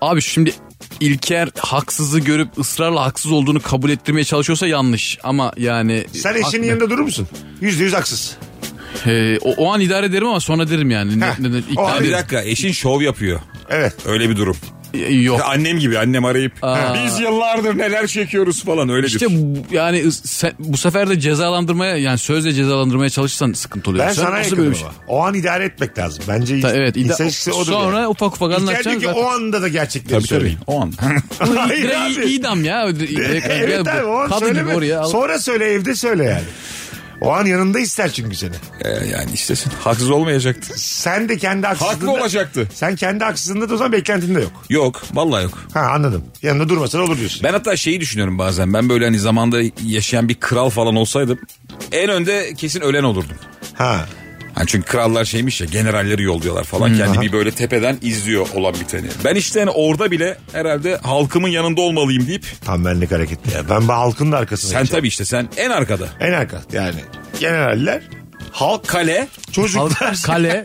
Speaker 3: Abi şimdi İlker haksızı görüp ısrarla haksız olduğunu kabul ettirmeye çalışıyorsa yanlış. Ama yani...
Speaker 2: Sen eşinin
Speaker 3: haklı.
Speaker 2: yanında durur musun? Yüzde yüz haksız.
Speaker 3: Ee, o, o an idare ederim ama sonra derim yani. Ne,
Speaker 2: Heh,
Speaker 3: ne, ne-
Speaker 2: o
Speaker 3: ikna
Speaker 2: an
Speaker 4: Abi bir
Speaker 3: ederim.
Speaker 4: dakika eşin şov yapıyor.
Speaker 2: Evet.
Speaker 4: Öyle bir durum.
Speaker 3: E, Yok.
Speaker 4: Ya Annem gibi annem arayıp biz yıllardır neler çekiyoruz falan öyle
Speaker 3: İşte
Speaker 4: bir.
Speaker 3: bu- yani is- sen- bu sefer de cezalandırmaya yani sözle cezalandırmaya çalışırsan sıkıntı oluyor.
Speaker 2: Ben
Speaker 3: Sen
Speaker 2: sana
Speaker 3: nasıl
Speaker 2: yakınım
Speaker 3: böyle bir
Speaker 2: ama.
Speaker 3: şey-
Speaker 2: O an idare etmek lazım. Bence
Speaker 3: Ta- evet, ida-
Speaker 2: insan ilişkisi odur
Speaker 3: sonra
Speaker 2: yani.
Speaker 3: ufak ufak
Speaker 2: İlker
Speaker 3: anlatacaksın
Speaker 2: diyor ki
Speaker 3: zaten.
Speaker 2: o anda da gerçekleri
Speaker 4: Tabii tabii.
Speaker 2: söyleyin.
Speaker 4: O [laughs] an.
Speaker 2: [laughs] Hayır
Speaker 3: Direkt
Speaker 2: abi.
Speaker 3: i- idam ya. Direkt-
Speaker 2: [laughs] evet abi o an
Speaker 3: Kadın gibi
Speaker 2: söyleme.
Speaker 3: oraya al.
Speaker 2: Sonra söyle evde söyle yani. O an yanında ister çünkü seni.
Speaker 4: Ee, yani istesin. Haksız olmayacaktı.
Speaker 2: Sen de kendi haksızlığında...
Speaker 4: olacaktı.
Speaker 2: Sen kendi haksızlığında da o zaman beklentin de yok.
Speaker 4: Yok vallahi yok.
Speaker 2: Ha anladım. Yanında durmasan olur diyorsun.
Speaker 4: Ben hatta şeyi düşünüyorum bazen. Ben böyle hani zamanda yaşayan bir kral falan olsaydım en önde kesin ölen olurdum.
Speaker 2: Ha.
Speaker 4: Hani çünkü krallar şeymiş ya generalleri yolluyorlar falan. Kendi bir böyle tepeden izliyor olan biteni. Ben işte hani orada bile herhalde halkımın yanında olmalıyım deyip
Speaker 2: Tam benlik hareket ya. Ben bu halkın da arkasına
Speaker 4: sen
Speaker 2: geçeceğim.
Speaker 4: tabii işte sen en arkada.
Speaker 2: En arka yani. Generaller halk
Speaker 4: Kale.
Speaker 2: çocuklar. Kalenin
Speaker 3: Kale.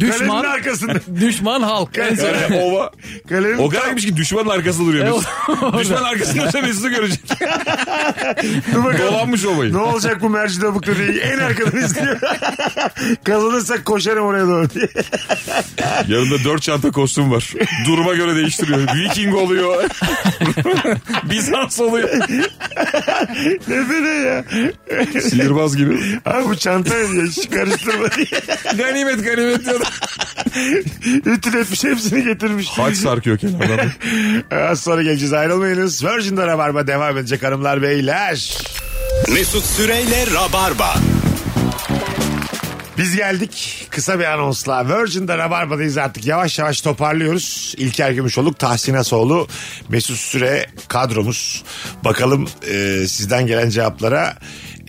Speaker 3: düşman.
Speaker 2: arkasında.
Speaker 3: düşman halk. En son-
Speaker 4: Yani ova.
Speaker 2: Kalenin
Speaker 4: O kadar ki düşmanın arkasında duruyor.
Speaker 3: Evet,
Speaker 4: Mesut. Düşmanın arkasında dursa Mesut'u görecek.
Speaker 2: Dur bakalım.
Speaker 4: Dolanmış ovayı.
Speaker 2: Ne olacak bu merci lavukta diye en arkadan izliyor. Kazanırsak koşarım oraya doğru diye.
Speaker 4: Yanında dört çanta kostüm var. Duruma göre değiştiriyor. Viking oluyor. [laughs] Bizans oluyor.
Speaker 2: Nefene ya.
Speaker 4: Sihirbaz gibi.
Speaker 2: Abi bu çanta ya hiç karıştırma diye.
Speaker 4: Ganimet ganimet diyor.
Speaker 2: Ütül etmiş hepsini getirmiş. Ee,
Speaker 4: Haç sarkıyor [laughs] kenardan.
Speaker 2: Az sonra geleceğiz ayrılmayınız. Virgin'de Rabarba devam edecek hanımlar beyler.
Speaker 1: Mesut Süreyle Rabarba.
Speaker 2: Biz geldik kısa bir anonsla. Virgin'de Rabarba'dayız artık yavaş yavaş toparlıyoruz. İlker Gümüşoluk, Tahsin Asoğlu, Mesut Süre kadromuz. Bakalım e, sizden gelen cevaplara.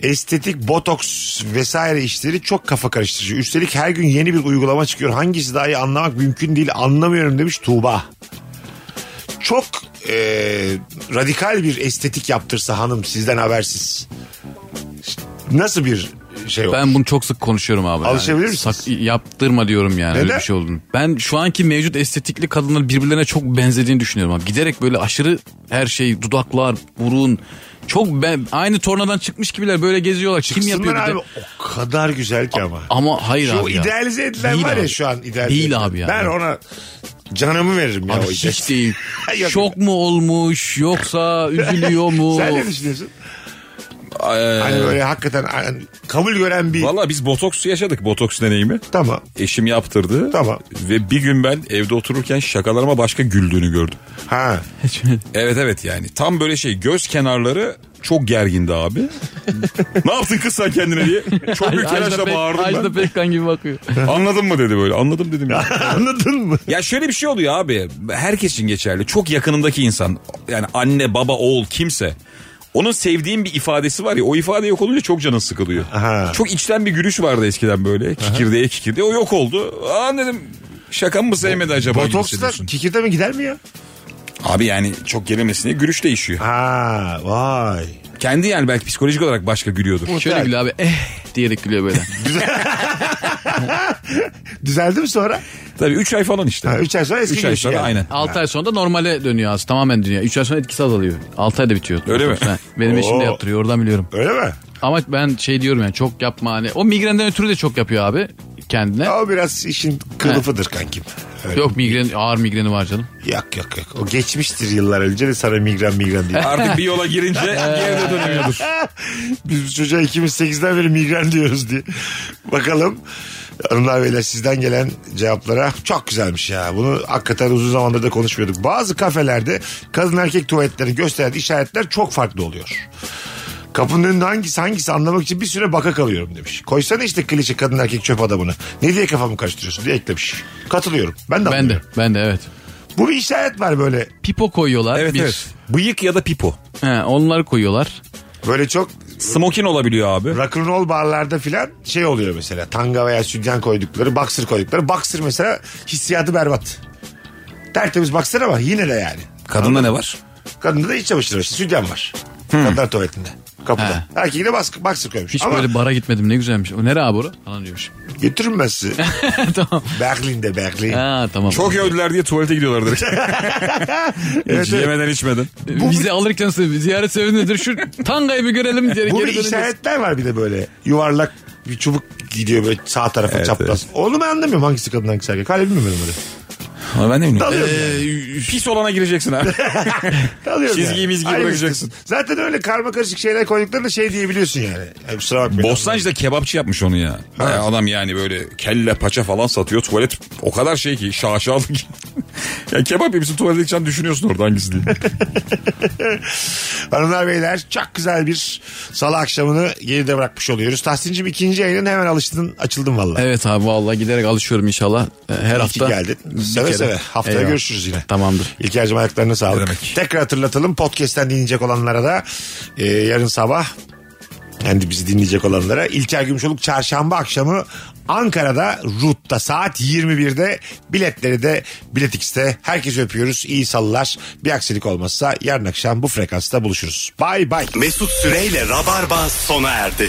Speaker 2: Estetik, botoks vesaire işleri çok kafa karıştırıcı. Üstelik her gün yeni bir uygulama çıkıyor. Hangisi daha iyi anlamak mümkün değil anlamıyorum demiş Tuğba. Çok e, radikal bir estetik yaptırsa hanım sizden habersiz. Nasıl bir şey olur?
Speaker 3: Ben bunu çok sık konuşuyorum abi. Yani
Speaker 2: Alışabilir misiniz?
Speaker 3: yaptırma diyorum yani öyle
Speaker 2: Neden?
Speaker 3: bir şey olduğunu. Ben şu anki mevcut estetikli kadınların birbirlerine çok benzediğini düşünüyorum abi. Giderek böyle aşırı her şey dudaklar, burun çok ben, aynı tornadan çıkmış gibiler böyle geziyorlar. Kim
Speaker 2: Kızımlar
Speaker 3: yapıyor bir de?
Speaker 2: abi o kadar güzel ki ama.
Speaker 3: Ama hayır
Speaker 2: Şu
Speaker 3: abi ya.
Speaker 2: idealize edilen
Speaker 3: Değil
Speaker 2: var ya
Speaker 3: abi.
Speaker 2: şu an idealize
Speaker 3: Değil
Speaker 2: edilen.
Speaker 3: abi ya.
Speaker 2: Ben ona canımı veririm ya
Speaker 3: Abi
Speaker 2: o
Speaker 3: hiç
Speaker 2: idealize.
Speaker 3: değil.
Speaker 2: [laughs] Yok.
Speaker 3: Şok mu olmuş yoksa üzülüyor mu?
Speaker 2: Sen ne düşünüyorsun? Hani böyle hakikaten hani kabul gören bir...
Speaker 4: Valla biz botoks yaşadık botoks deneyimi.
Speaker 2: Tamam.
Speaker 4: Eşim yaptırdı.
Speaker 2: Tamam.
Speaker 4: Ve bir gün ben evde otururken şakalarıma başka güldüğünü gördüm.
Speaker 2: Ha.
Speaker 4: Evet evet yani tam böyle şey göz kenarları çok gergindi abi. [laughs] ne yaptın kız sen kendine diye. Çok büyük telaşla bağırdım ben.
Speaker 3: Ajda Pekkan gibi bakıyor.
Speaker 4: Anladın mı dedi böyle. Anladım dedim ya.
Speaker 2: [laughs] Anladın mı?
Speaker 4: Ya şöyle bir şey oluyor abi. Herkes için geçerli. Çok yakınındaki insan. Yani anne, baba, oğul kimse. Onun sevdiğim bir ifadesi var ya o ifade yok olunca çok canın sıkılıyor.
Speaker 2: Aha.
Speaker 4: Çok içten bir gülüş vardı eskiden böyle kikirdeğe kikirdeğe o yok oldu. Aa dedim şaka mı sevmedi acaba? gibi
Speaker 2: Botoksla
Speaker 4: hissediyorsun.
Speaker 2: kikirde mi gider mi ya?
Speaker 4: Abi yani çok gerilmesine gülüş değişiyor.
Speaker 2: Ha vay.
Speaker 4: Kendi yani belki psikolojik olarak başka gülüyordur.
Speaker 3: Şöyle gülüyor abi eh diyerek gülüyor böyle.
Speaker 2: Düzeldi mi sonra?
Speaker 4: Tabii 3 ay falan işte.
Speaker 2: Ha, üç ay sonra eski
Speaker 4: 3 ay
Speaker 2: gülüşü
Speaker 4: sonra
Speaker 2: yani.
Speaker 3: [laughs]
Speaker 4: aynen.
Speaker 3: 6 ay sonra da normale dönüyor aslında tamamen dönüyor. 3 ay sonra etkisi azalıyor. 6 ayda bitiyor.
Speaker 4: Öyle mi?
Speaker 3: Ha, Benim eşim
Speaker 2: Oo.
Speaker 3: de yaptırıyor oradan biliyorum.
Speaker 2: Öyle mi?
Speaker 3: Ama ben şey diyorum yani çok yapma hani. O migrenden ötürü de çok yapıyor abi kendine.
Speaker 2: O biraz işin kılıfıdır kankim. Öyle.
Speaker 3: Yok migren ağır migreni var canım.
Speaker 2: Yok yok yok. O geçmiştir yıllar önce de sana migren migren diye.
Speaker 4: Artık bir
Speaker 2: [laughs]
Speaker 4: yola girince geri de dönemiyordur.
Speaker 2: Biz bu çocuğa 2008'den beri migren diyoruz diye. Bakalım hanımlar beyler sizden gelen cevaplara çok güzelmiş ya. Bunu hakikaten uzun zamandır da konuşmuyorduk. Bazı kafelerde kadın erkek tuvaletlerini gösteren işaretler çok farklı oluyor. Kapının önünde hangisi hangisi anlamak için bir süre baka kalıyorum demiş. Koysana işte klişe kadın erkek çöp adamını. Ne diye kafamı karıştırıyorsun diye eklemiş. Katılıyorum. Ben de
Speaker 3: Ben de
Speaker 2: anlıyorum.
Speaker 3: ben de evet.
Speaker 2: Bu bir işaret var böyle.
Speaker 3: Pipo koyuyorlar
Speaker 4: Evet
Speaker 3: bir.
Speaker 4: evet. Bıyık ya da pipo.
Speaker 3: He, onları koyuyorlar.
Speaker 2: Böyle çok
Speaker 4: Smokin olabiliyor abi.
Speaker 2: rock'n'roll barlarda filan şey oluyor mesela. Tanga veya sütyen koydukları, boxer koydukları. Boxer mesela hissiyatı berbat. Tertemiz boxer ama yine de yani.
Speaker 4: Kadında ne var?
Speaker 2: Kadında da iç çamaşırı var. işte, Sütyen var. Kadınlar tuvaletinde. Kapıda. Erkeği de baskı, boxer koymuş.
Speaker 3: Hiç
Speaker 2: ama
Speaker 3: böyle bara gitmedim ne güzelmiş. O nere abi ora? Falan diyormuş. [laughs]
Speaker 2: götürürüm ben sizi.
Speaker 3: tamam.
Speaker 2: Berlin'de Berlin.
Speaker 3: Ha, tamam.
Speaker 4: Çok övdüler diye tuvalete gidiyorlar [laughs] direkt. Hiç yemeden içmeden.
Speaker 3: Bu Vize alırken size ziyaret sevindidir. Şu tangayı bir görelim diye
Speaker 2: Bu
Speaker 3: geri
Speaker 2: bir
Speaker 3: döneceğiz.
Speaker 2: işaretler var bir de böyle. Yuvarlak bir çubuk gidiyor böyle sağ tarafa çapraz. Onu ben anlamıyorum hangisi kadın hangisi erkek. Hala bilmiyorum ben onları.
Speaker 4: Ama ben de bilmiyorum.
Speaker 2: Dalıyorum yani.
Speaker 4: Ee, pis olana gireceksin [laughs] abi.
Speaker 2: Dalıyorum
Speaker 4: Çizgiyi
Speaker 2: yani.
Speaker 4: mizgiyi
Speaker 2: Aynı
Speaker 4: bırakacaksın.
Speaker 2: işte. Zaten öyle karma karışık şeyler koyduklarında şey diyebiliyorsun yani. Ay, kusura bakmayın.
Speaker 4: Bostancı'da kebapçı yapmış onu ya. Bayağı adam yani böyle kelle paça falan satıyor. Tuvalet o kadar şey ki şaşalı ki. [laughs] ya kebap yemişsin tuvalete gideceğini düşünüyorsun orada hangisi diye.
Speaker 2: Hanımlar beyler çok güzel bir salı akşamını geride bırakmış oluyoruz. Tahsin'cim ikinci yayının hemen alıştın açıldın valla.
Speaker 3: Evet abi vallahi giderek alışıyorum inşallah. Ee, Her
Speaker 2: İyi ki
Speaker 3: hafta.
Speaker 2: geldin. Seve
Speaker 3: kere.
Speaker 2: seve. Haftaya
Speaker 3: Eyvallah.
Speaker 2: görüşürüz yine.
Speaker 3: Tamamdır.
Speaker 2: İlker'cim ayaklarına sağlık.
Speaker 4: Ne demek.
Speaker 2: Tekrar hatırlatalım podcast'ten dinleyecek olanlara da e, yarın sabah yani bizi dinleyecek olanlara İlker Gümüşoluk çarşamba akşamı Ankara'da RUT'ta saat 21'de biletleri de Bilet X'te. Herkesi öpüyoruz. İyi salılar. Bir aksilik olmazsa yarın akşam bu frekansta buluşuruz. Bay bay.
Speaker 1: Mesut Süreyle Rabarba sona erdi.